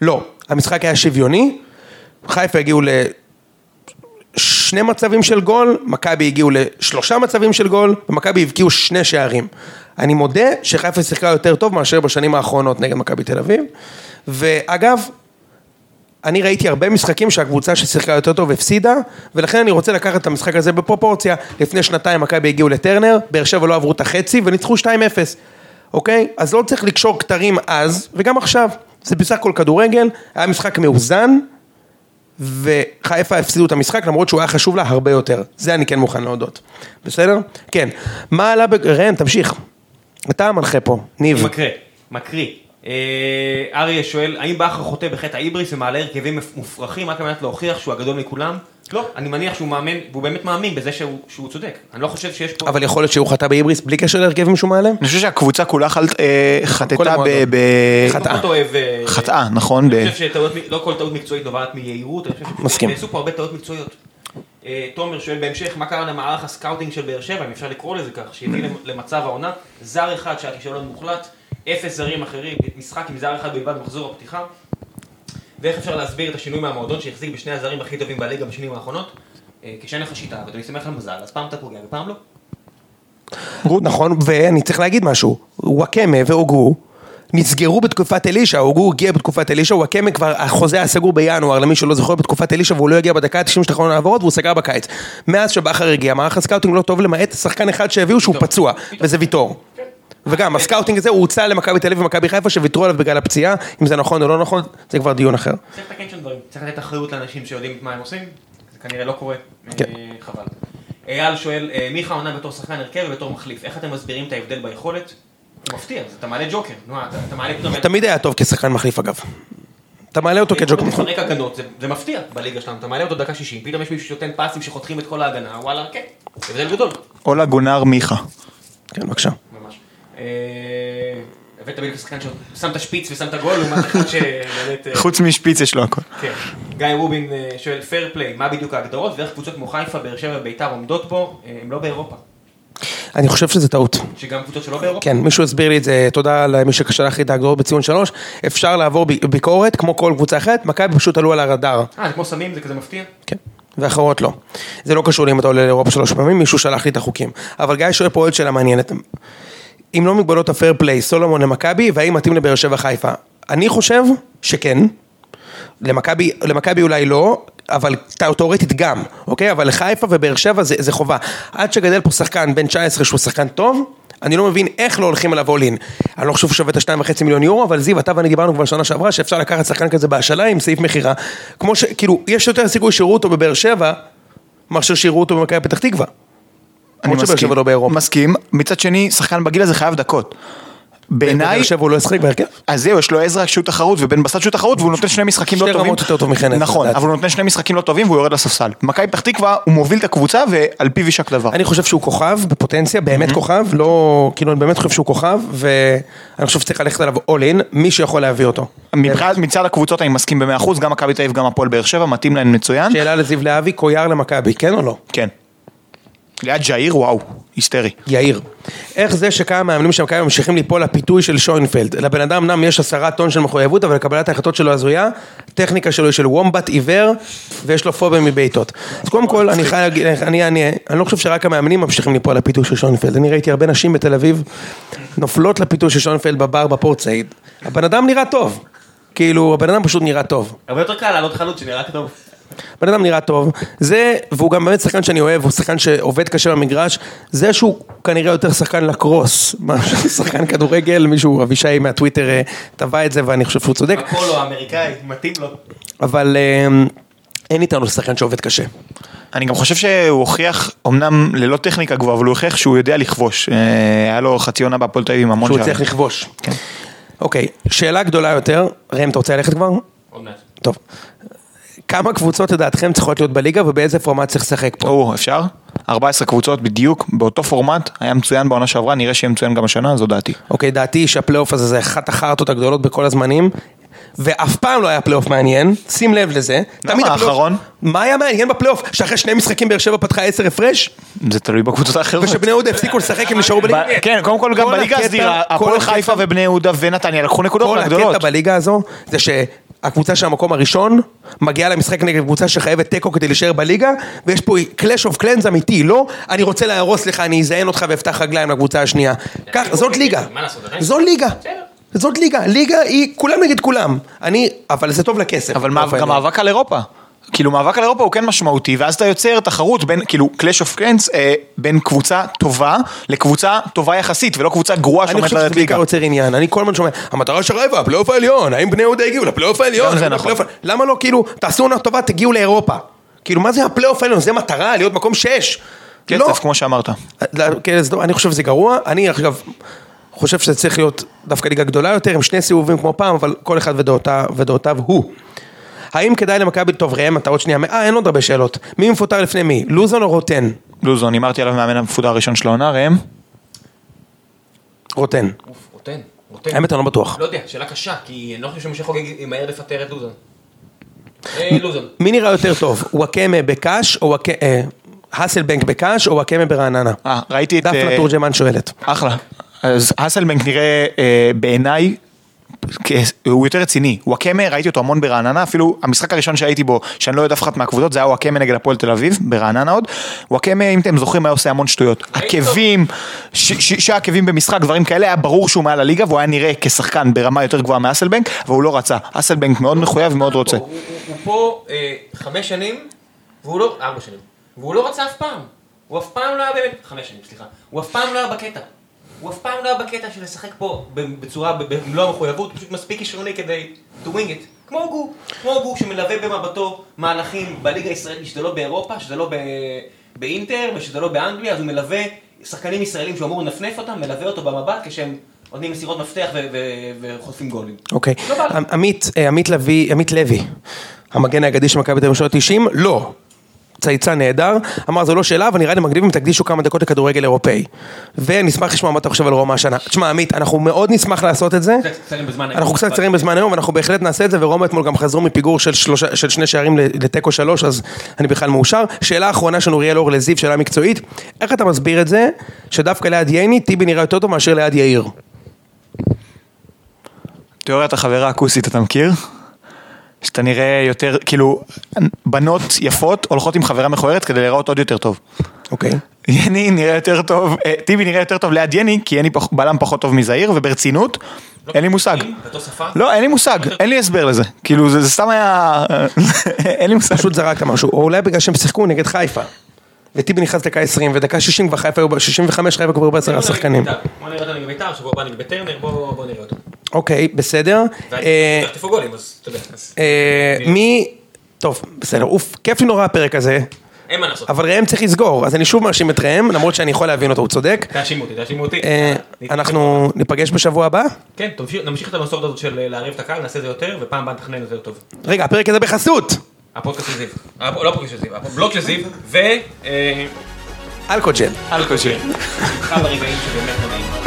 B: לא. המשחק היה שוויוני, חיפה הגיעו לשני מצבים של גול, מכבי הגיעו לשלושה מצבים של גול, ומכבי הבקיעו שני שערים. אני מודה שחיפה שיחקה יותר טוב מאשר בשנים האחרונות נגד מכבי תל אביב, ואגב, אני ראיתי הרבה משחקים שהקבוצה ששיחקה יותר טוב הפסידה, ולכן אני רוצה לקחת את המשחק הזה בפרופורציה. לפני שנתיים מכבי הגיעו לטרנר, באר שבע לא עברו את החצי וניצחו 2-0, אוקיי? אז לא צריך לקשור כתרים אז, וגם עכשיו. זה בסך הכל כדורגל, היה משחק מאוזן, וחיפה הפסידו את המשחק למרות שהוא היה חשוב לה הרבה יותר. זה אני כן מוכן להודות. בסדר? כן. מה עלה ב... ראם, תמשיך. אתה המנחה פה, ניב.
A: מקריא, מקריא. אה, אריה שואל, האם בכר חוטא בחטא ההיבריס ומעלה הרכבים מופרכים רק על מנת להוכיח שהוא הגדול מכולם? לא, אני מניח שהוא מאמן, והוא באמת מאמין בזה שהוא שהוא צודק. אני לא חושב שיש פה...
B: אבל יכול להיות שהוא חטא בהיבריס בלי קשר להרכבים שהוא מעלה?
C: אני חושב שהקבוצה כולה חל- אה,
B: כל
C: חטטה
B: המועדון.
C: ב... ב-
A: אני
B: חטאה.
A: פחות אוהב... אה,
C: חטאה, נכון? ב-
A: אני חושב שטעות, מ- לא כל טעות מקצועית נובעת מיהירות, אני חושב
B: מסכים.
A: שנעשו פה הרבה טעות מקצועיות. אה, תומר שואל בהמשך, מה קרה למערך הסקאוטינג של באר שבע, אם אפשר לקרוא לזה כך, שהביא למ- למצב העונה, זר אחד שהיה כישלון מוחלט, אפס זרים אחרים, משחק עם זר אחד בלבד במחזור הפתיחה, ואיך אפשר להסביר את השינוי מהמועדון שהחזיק בשני הזרים הכי טובים בליגה בשנים האחרונות, אה, כשאין לך שיטה ואתה מסתמך על מזל, אז פעם אתה פוגע ופעם לא.
B: נכון, ואני צריך להגיד משהו, וואקמה והוגו נסגרו בתקופת אלישע, הוגו הגיע בתקופת אלישע, וואקמה כבר, החוזה היה סגור בינואר, למי שלא זוכר, בתקופת אלישע, והוא לא הגיע בדקה ה-90 של אחרון העברות, והוא סגר בקיץ. מאז שבכר הגיע, מערך הסקאוטינג לא טוב, למעט שחקן אחד שהביאו שהוא פצוע, וזה ויטור. וגם, הסקאוטינג הזה הוא הוצא למכבי תל אביב ומכבי חיפה, שוויתרו עליו בגלל הפציעה, אם זה נכון או לא נכון, זה כבר דיון אחר.
A: צריך לתקן שם דברים. צריך לתת אחריות לאנשים שיודעים את מה הם עושים, זה כנראה לא קורה, אה,
B: כן.
A: חבל. אייל שואל, אה, מיכה עונה בתור שחקן הרכב ובתור מחליף, איך אתם מסבירים את ההבדל ביכולת? הוא מפתיע, אז אתה מעלה ג'וקר, נו, אה, אתה אתה מעלה פתאום... אה,
B: תמיד היה טוב כשחקן מחליף אגב. אתה מעלה אותו כג'וקר. נכון.
A: הוא
E: כן.
A: מפרק הגנות, זה- זה מפתיע בליגה שלנו, אתה מעלה אותו דקה 60, פתאום יש מישהו שנותן פסים שחותכים את כל ההגנה, וואלה, כן, זה הבדל גדול.
C: אולה גונר מיכה.
B: כן, בבקשה.
A: ממש. אה, הבאת בדיוק שחקן ששם את השפיץ ושם את הגול, לעומת אחד שבאמת... אה,
C: חוץ משפיץ יש לו הכל.
A: כן. גיא רובין אה, שואל פייר פליי, מה בדיוק ההגדרות ואיך קבוצות כמו חיפה, באר שבע וביתר עומדות בו, אה, הם לא באירופה.
B: אני חושב שזה טעות.
A: שגם קבוצות שלא באירופה.
B: כן, מישהו הסביר לי את זה, תודה למי ששלח לי את ההגדרות בציון שלוש. אפשר לעבור ב- ביקורת, כמו כל קבוצה אחרת, מכבי פשוט עלו על הרדאר,
A: אה, זה כמו סמים, זה כזה מפתיע?
B: כן, ואחרות לא. זה לא קשור לאם אתה עולה לאירופה שלוש פעמים, מישהו שלח לי את החוקים. אבל גיא שואל פה עוד שאלה מעניינת. אם לא מגבלות הפייר פליי, סולומון למכבי, והאם מתאים לבאר שבע חיפה? אני חושב שכן. למכבי, למכבי אולי לא, אבל תא- תאורטית גם, אוקיי? אבל לחיפה ובאר שבע זה, זה חובה. עד שגדל פה שחקן בן 19 שהוא שחקן טוב, אני לא מבין איך לא הולכים עליו אולין. אני לא חושב שהוא שווה את השניים וחצי מיליון יורו, אבל זיו, אתה ואני דיברנו כבר שנה שעברה, שאפשר לקחת שחקן כזה בהשאלה עם סעיף מכירה. כמו ש... כאילו, יש יותר סיכוי שיראו אותו בבאר שבע, מאשר שיראו אותו במכבי פתח תקווה.
C: אני
B: למרות שבאר
C: מסכים.
B: שבע לא באירופה.
C: מסכים. מצד שני, שחקן בגיל הזה חייב דקות. בעיניי,
B: בבאר שבע הוא לא ישחק בהרכב?
C: אז זהו, יש לו עזרא שהוא תחרות ובן בסט שהוא תחרות והוא נותן שני משחקים לא
B: שתי
C: טובים.
B: רמות יותר טוב מחן עזרא,
C: נכון,
B: לדעתי.
C: אבל הוא נותן שני משחקים לא טובים והוא יורד לספסל. מכבי פתח תקווה, הוא מוביל את הקבוצה ועל פיו יישק דבר.
B: אני חושב שהוא כוכב, בפוטנציה, באמת כוכב, לא... כאילו, אני באמת חושב שהוא כוכב, ואני חושב שצריך ללכת עליו אולין, מי שיכול להביא אותו.
C: מבחינת מצד הקבוצות אני מסכים במאה אחוז, גם מכבי תל אביב, גם הפועל באר שבע, מתאים להם מצוין.
B: שאלה לזיו להבי, קויאר למכבי, כן או לא?
C: כן. ליד ג'איר, וואו, היסטרי.
B: יאיר, איך זה שכמה מאמנים של מכבי ממשיכים ליפול לפיתוי של שוינפלד? לבן אדם נם יש עשרה טון של מחויבות, אבל קבלת ההחלטות שלו הזויה, טכניקה שלו היא של וומבט עיוור, ויש לו פוביה מבעיטות. אז קודם כל, אני חייב להגיד, אני, אני, אני, אני לא חושב שרק המאמנים ממשיכים ליפול לפיתוי של שוינפלד. אני ראיתי הרבה נשים בתל אביב נופלות לפיתוי של שוינפלד בבר בפורצייד. הבן אדם נראה טוב. כאילו, הבן אדם פשוט נראה טוב.
A: הרבה יותר קל לעלות חלוץ שנראה טוב.
B: בן אדם נראה טוב, זה, והוא גם באמת שחקן שאני אוהב, הוא שחקן שעובד קשה במגרש, זה שהוא כנראה יותר שחקן לקרוס, מאשר שחקן כדורגל, מישהו, אבישי מהטוויטר אה, טבע את זה ואני חושב שהוא צודק,
A: הפולו האמריקאי, מתאים לו.
B: אבל אה, אין איתנו שחקן שעובד קשה.
C: אני גם חושב שהוא הוכיח, אמנם ללא טכניקה גבוהה, אבל הוא הוכיח שהוא יודע לכבוש. אה, היה לו חצי עונה בהפועל תל אביב עם המון
B: שהוא
C: שערים.
B: הצליח לכבוש. אוקיי, שאלה גדולה יותר, ראם אתה רוצה ללכת כבר?
A: עוד מעט.
B: טוב. כמה קבוצות לדעתכם צריכות להיות בליגה ובאיזה פורמט צריך לשחק פה?
C: או, אפשר? 14 קבוצות בדיוק, באותו פורמט, היה מצוין בעונה שעברה, נראה שיהיה מצוין גם השנה, זו דעתי.
B: אוקיי, דעתי היא שהפלייאוף הזה זה אחת החרטות הגדולות בכל הזמנים, ואף פעם לא היה פלייאוף מעניין, שים לב לזה.
C: למה,
B: תמיד הפלייאוף-
C: האחרון?
B: מה היה מעניין בפלייאוף? שאחרי שני משחקים באר שבע פתחה עשר הפרש,
C: זה תלוי בקבוצות האחרות.
B: ושבני יהודה הפסיקו
C: אה,
B: לשחק, הם נשארו בליגה.
C: ב- כן, קודם כל גם
B: כל
C: בליגה
B: הקטע-
C: הסדירה,
B: כל
C: הפועל
B: הקטע-
C: חיפה ובני יהודה ונתניה לקחו נקודות
B: כל
C: מהגדולות.
B: הקטע בליגה הזו זה שהקבוצה של המקום הראשון מגיעה למשחק נגד קבוצה שחייבת תיקו כדי להישאר בליגה, ויש פה קלאש אוף קלנז אמיתי, לא אני רוצה להרוס לך, אני אזיין אותך ואפתח רגליים לקבוצה השנייה. כך, זאת ליגה.
A: מה לעשות, עדיין?
B: זאת ליגה. זאת ליגה. ליגה היא כולם נגד כולם. אני, אבל זה טוב לכסף.
C: אבל מה- גם מאבק על אירופה. כאילו מאבק על אירופה הוא כן משמעותי, ואז אתה יוצר תחרות בין, כאילו, קלאש אוף קלנס, אה, בין קבוצה טובה לקבוצה טובה יחסית, ולא קבוצה גרועה
B: אני
C: שעומדת
B: חושב שזה
C: לרדת
B: בעיקר
C: ליגה.
B: יוצר עניין, אני כל הזמן שומע, המטרה של רבע, הפלייאוף העליון, האם בני יהודה הגיעו לפלייאוף העליון?
C: גם זה
B: האם
C: נכון.
B: לפלייאוף- למה לא, כאילו, תעשו עונה טובה, תגיעו לאירופה. כאילו, מה זה הפלייאוף העליון? זה מטרה, להיות מקום שש. לא.
C: כסף, כמו שאמרת.
B: כן, אז לא, אני חושב שזה גרוע, אני עכשיו חושב שזה צריך להיות דווקא ליגה גדולה יותר, עם שני סיבובים כמו פעם, אבל כל אחד ודעותיו, ודעותיו הוא. האם כדאי למכבי, טוב ראם, אתה עוד שנייה, אה, אין עוד הרבה שאלות. מי מפוטר לפני מי? לוזון או רוטן?
C: לוזון, הימרתי עליו מאמן המפודה הראשון של העונה, ראם.
B: רוטן.
A: אוף, רוטן, רוטן.
B: האמת, אני לא בטוח.
A: לא יודע, שאלה קשה, כי אני לא חושב שמשה חוגג ימהר לפטר את לוזון. אה, לוזון.
B: מי נראה יותר טוב? וואקמה בקאש או וואקמה... האסלבנק בקאש או וואקמה ברעננה?
C: אה, ראיתי את...
B: דפנה
C: אה,
B: תורג'מן שואלת.
C: אחלה. אז האסלבנק נראה אה, בעיניי, כ- הוא יותר רציני. וואקמה, ראיתי אותו המון ברעננה, אפילו המשחק הראשון שהייתי בו, שאני לא יודע אף אחת מהקבוצות, זה היה וואקמה נגד הפועל תל אביב, ברעננה עוד. וואקמה, אם אתם זוכרים, היה עושה המון שטויות.
A: ראיתי אותו.
C: עקבים, ש- ש- שישה עקבים במשחק, דברים כאלה, היה ברור שהוא מעל הליגה, והוא היה נראה כשחקן ברמה יותר גבוהה מאסלבנק, אבל הוא לא רצה. אסלבנק מאוד מחויב ומאוד רוצה.
A: הוא- הוא הוא פה אה, חמש שנים, והוא לא... ארבע שנים. והוא לא רצה אף פעם. הוא אף פעם לא היה באמת... חמש שנים, סליחה. הוא אף פעם לא היה בקטע. הוא אף פעם לא היה בקטע של לשחק פה בצורה, במלוא המחויבות, פשוט מספיק כישרוני כדי to wing it. כמו הוגו, כמו הוגו שמלווה במבטו מהלכים בליגה הישראלית, שזה לא באירופה, שזה לא ב... באינטר ושזה לא באנגליה, אז הוא מלווה שחקנים ישראלים שהוא אמור לנפנף אותם, מלווה אותו במבט כשהם נותנים מסירות מפתח ו- ו- וחוטפים גולים.
B: אוקיי.
A: לא בא לי.
B: עמית, אה, עמית לוי, עמית לוי, המגן האגדי של מכבי תל אביב בשנות ה-90? לא. צייצן נהדר, אמר זו לא שאלה, אבל נראה לי מגניב אם תקדישו כמה דקות לכדורגל אירופאי. ונשמח לשמוע מה אתה חושב על רומא השנה. תשמע עמית, אנחנו מאוד נשמח לעשות את זה.
A: קצת קצרים בזמן היום.
B: אנחנו קצת קצרים בזמן היום, אנחנו בהחלט נעשה את זה, ורומא אתמול גם חזרו מפיגור של, שלושה, של שני שערים ל- לתיקו שלוש, אז אני בכלל מאושר. שאלה אחרונה של אוריאל אור לזיו, שאלה מקצועית, איך אתה מסביר את זה, שדווקא ליד ייני, טיבי נראה יותר טוב מאשר ליד יאיר?
C: תיאוריית החברה הכוסית, אתה מכיר? שאתה נראה יותר, כאילו, בנות יפות הולכות עם חברה מכוערת כדי להיראות עוד יותר טוב.
B: אוקיי.
C: יני נראה יותר טוב, אה, טיבי נראה יותר טוב ליד יני, כי יני פח- בלם פחות טוב מזעיר, וברצינות,
E: לא,
C: אין לי מושג.
A: באותה שפה?
C: לא, אין לי מושג, אין לי הסבר לזה. כאילו, זה זה סתם היה... אה, אין לי מושג.
B: פשוט זרקת משהו, או אולי בגלל שהם שיחקו נגד חיפה. וטיבי נכנס דקה 20, ודקה 60 כבר חיפה היו, ב- 65 חיפה כבר היו בעשרה שחקנים.
E: בוא נראה אותנו מביתר, שבוע הבא נגד בטרנר, בוא בוא נראה אותו.
B: אוקיי, בסדר. אה,
E: תחטפו גולים, אז אתה יודע. אז
B: אה, מי... טוב, בסדר, אוף, כיף לי נורא הפרק הזה,
E: אין מה לעשות.
B: אבל ראם צריך לסגור, אז אני שוב מאשים את ראם, למרות שאני יכול להבין אותו, הוא צודק.
E: תאשימו אותי, תאשימו אותי.
B: אה, אנחנו ניפגש בשבוע הבא?
E: כן, תמשיך- נמשיך את המסורת הזאת של אה, לערב את הקהל, נעשה את זה יותר, ופעם הבאה נתכנן יותר טוב.
B: רגע, הפרק הזה בחסות!
E: הפודקאסט של זיו. הפ- לא הפודקאסט של זיו, הבלוג של זיו, ו... אה,
B: אלכוג'ל.
E: אלכוהול. אחד הרגעים שבאמת לא נעים.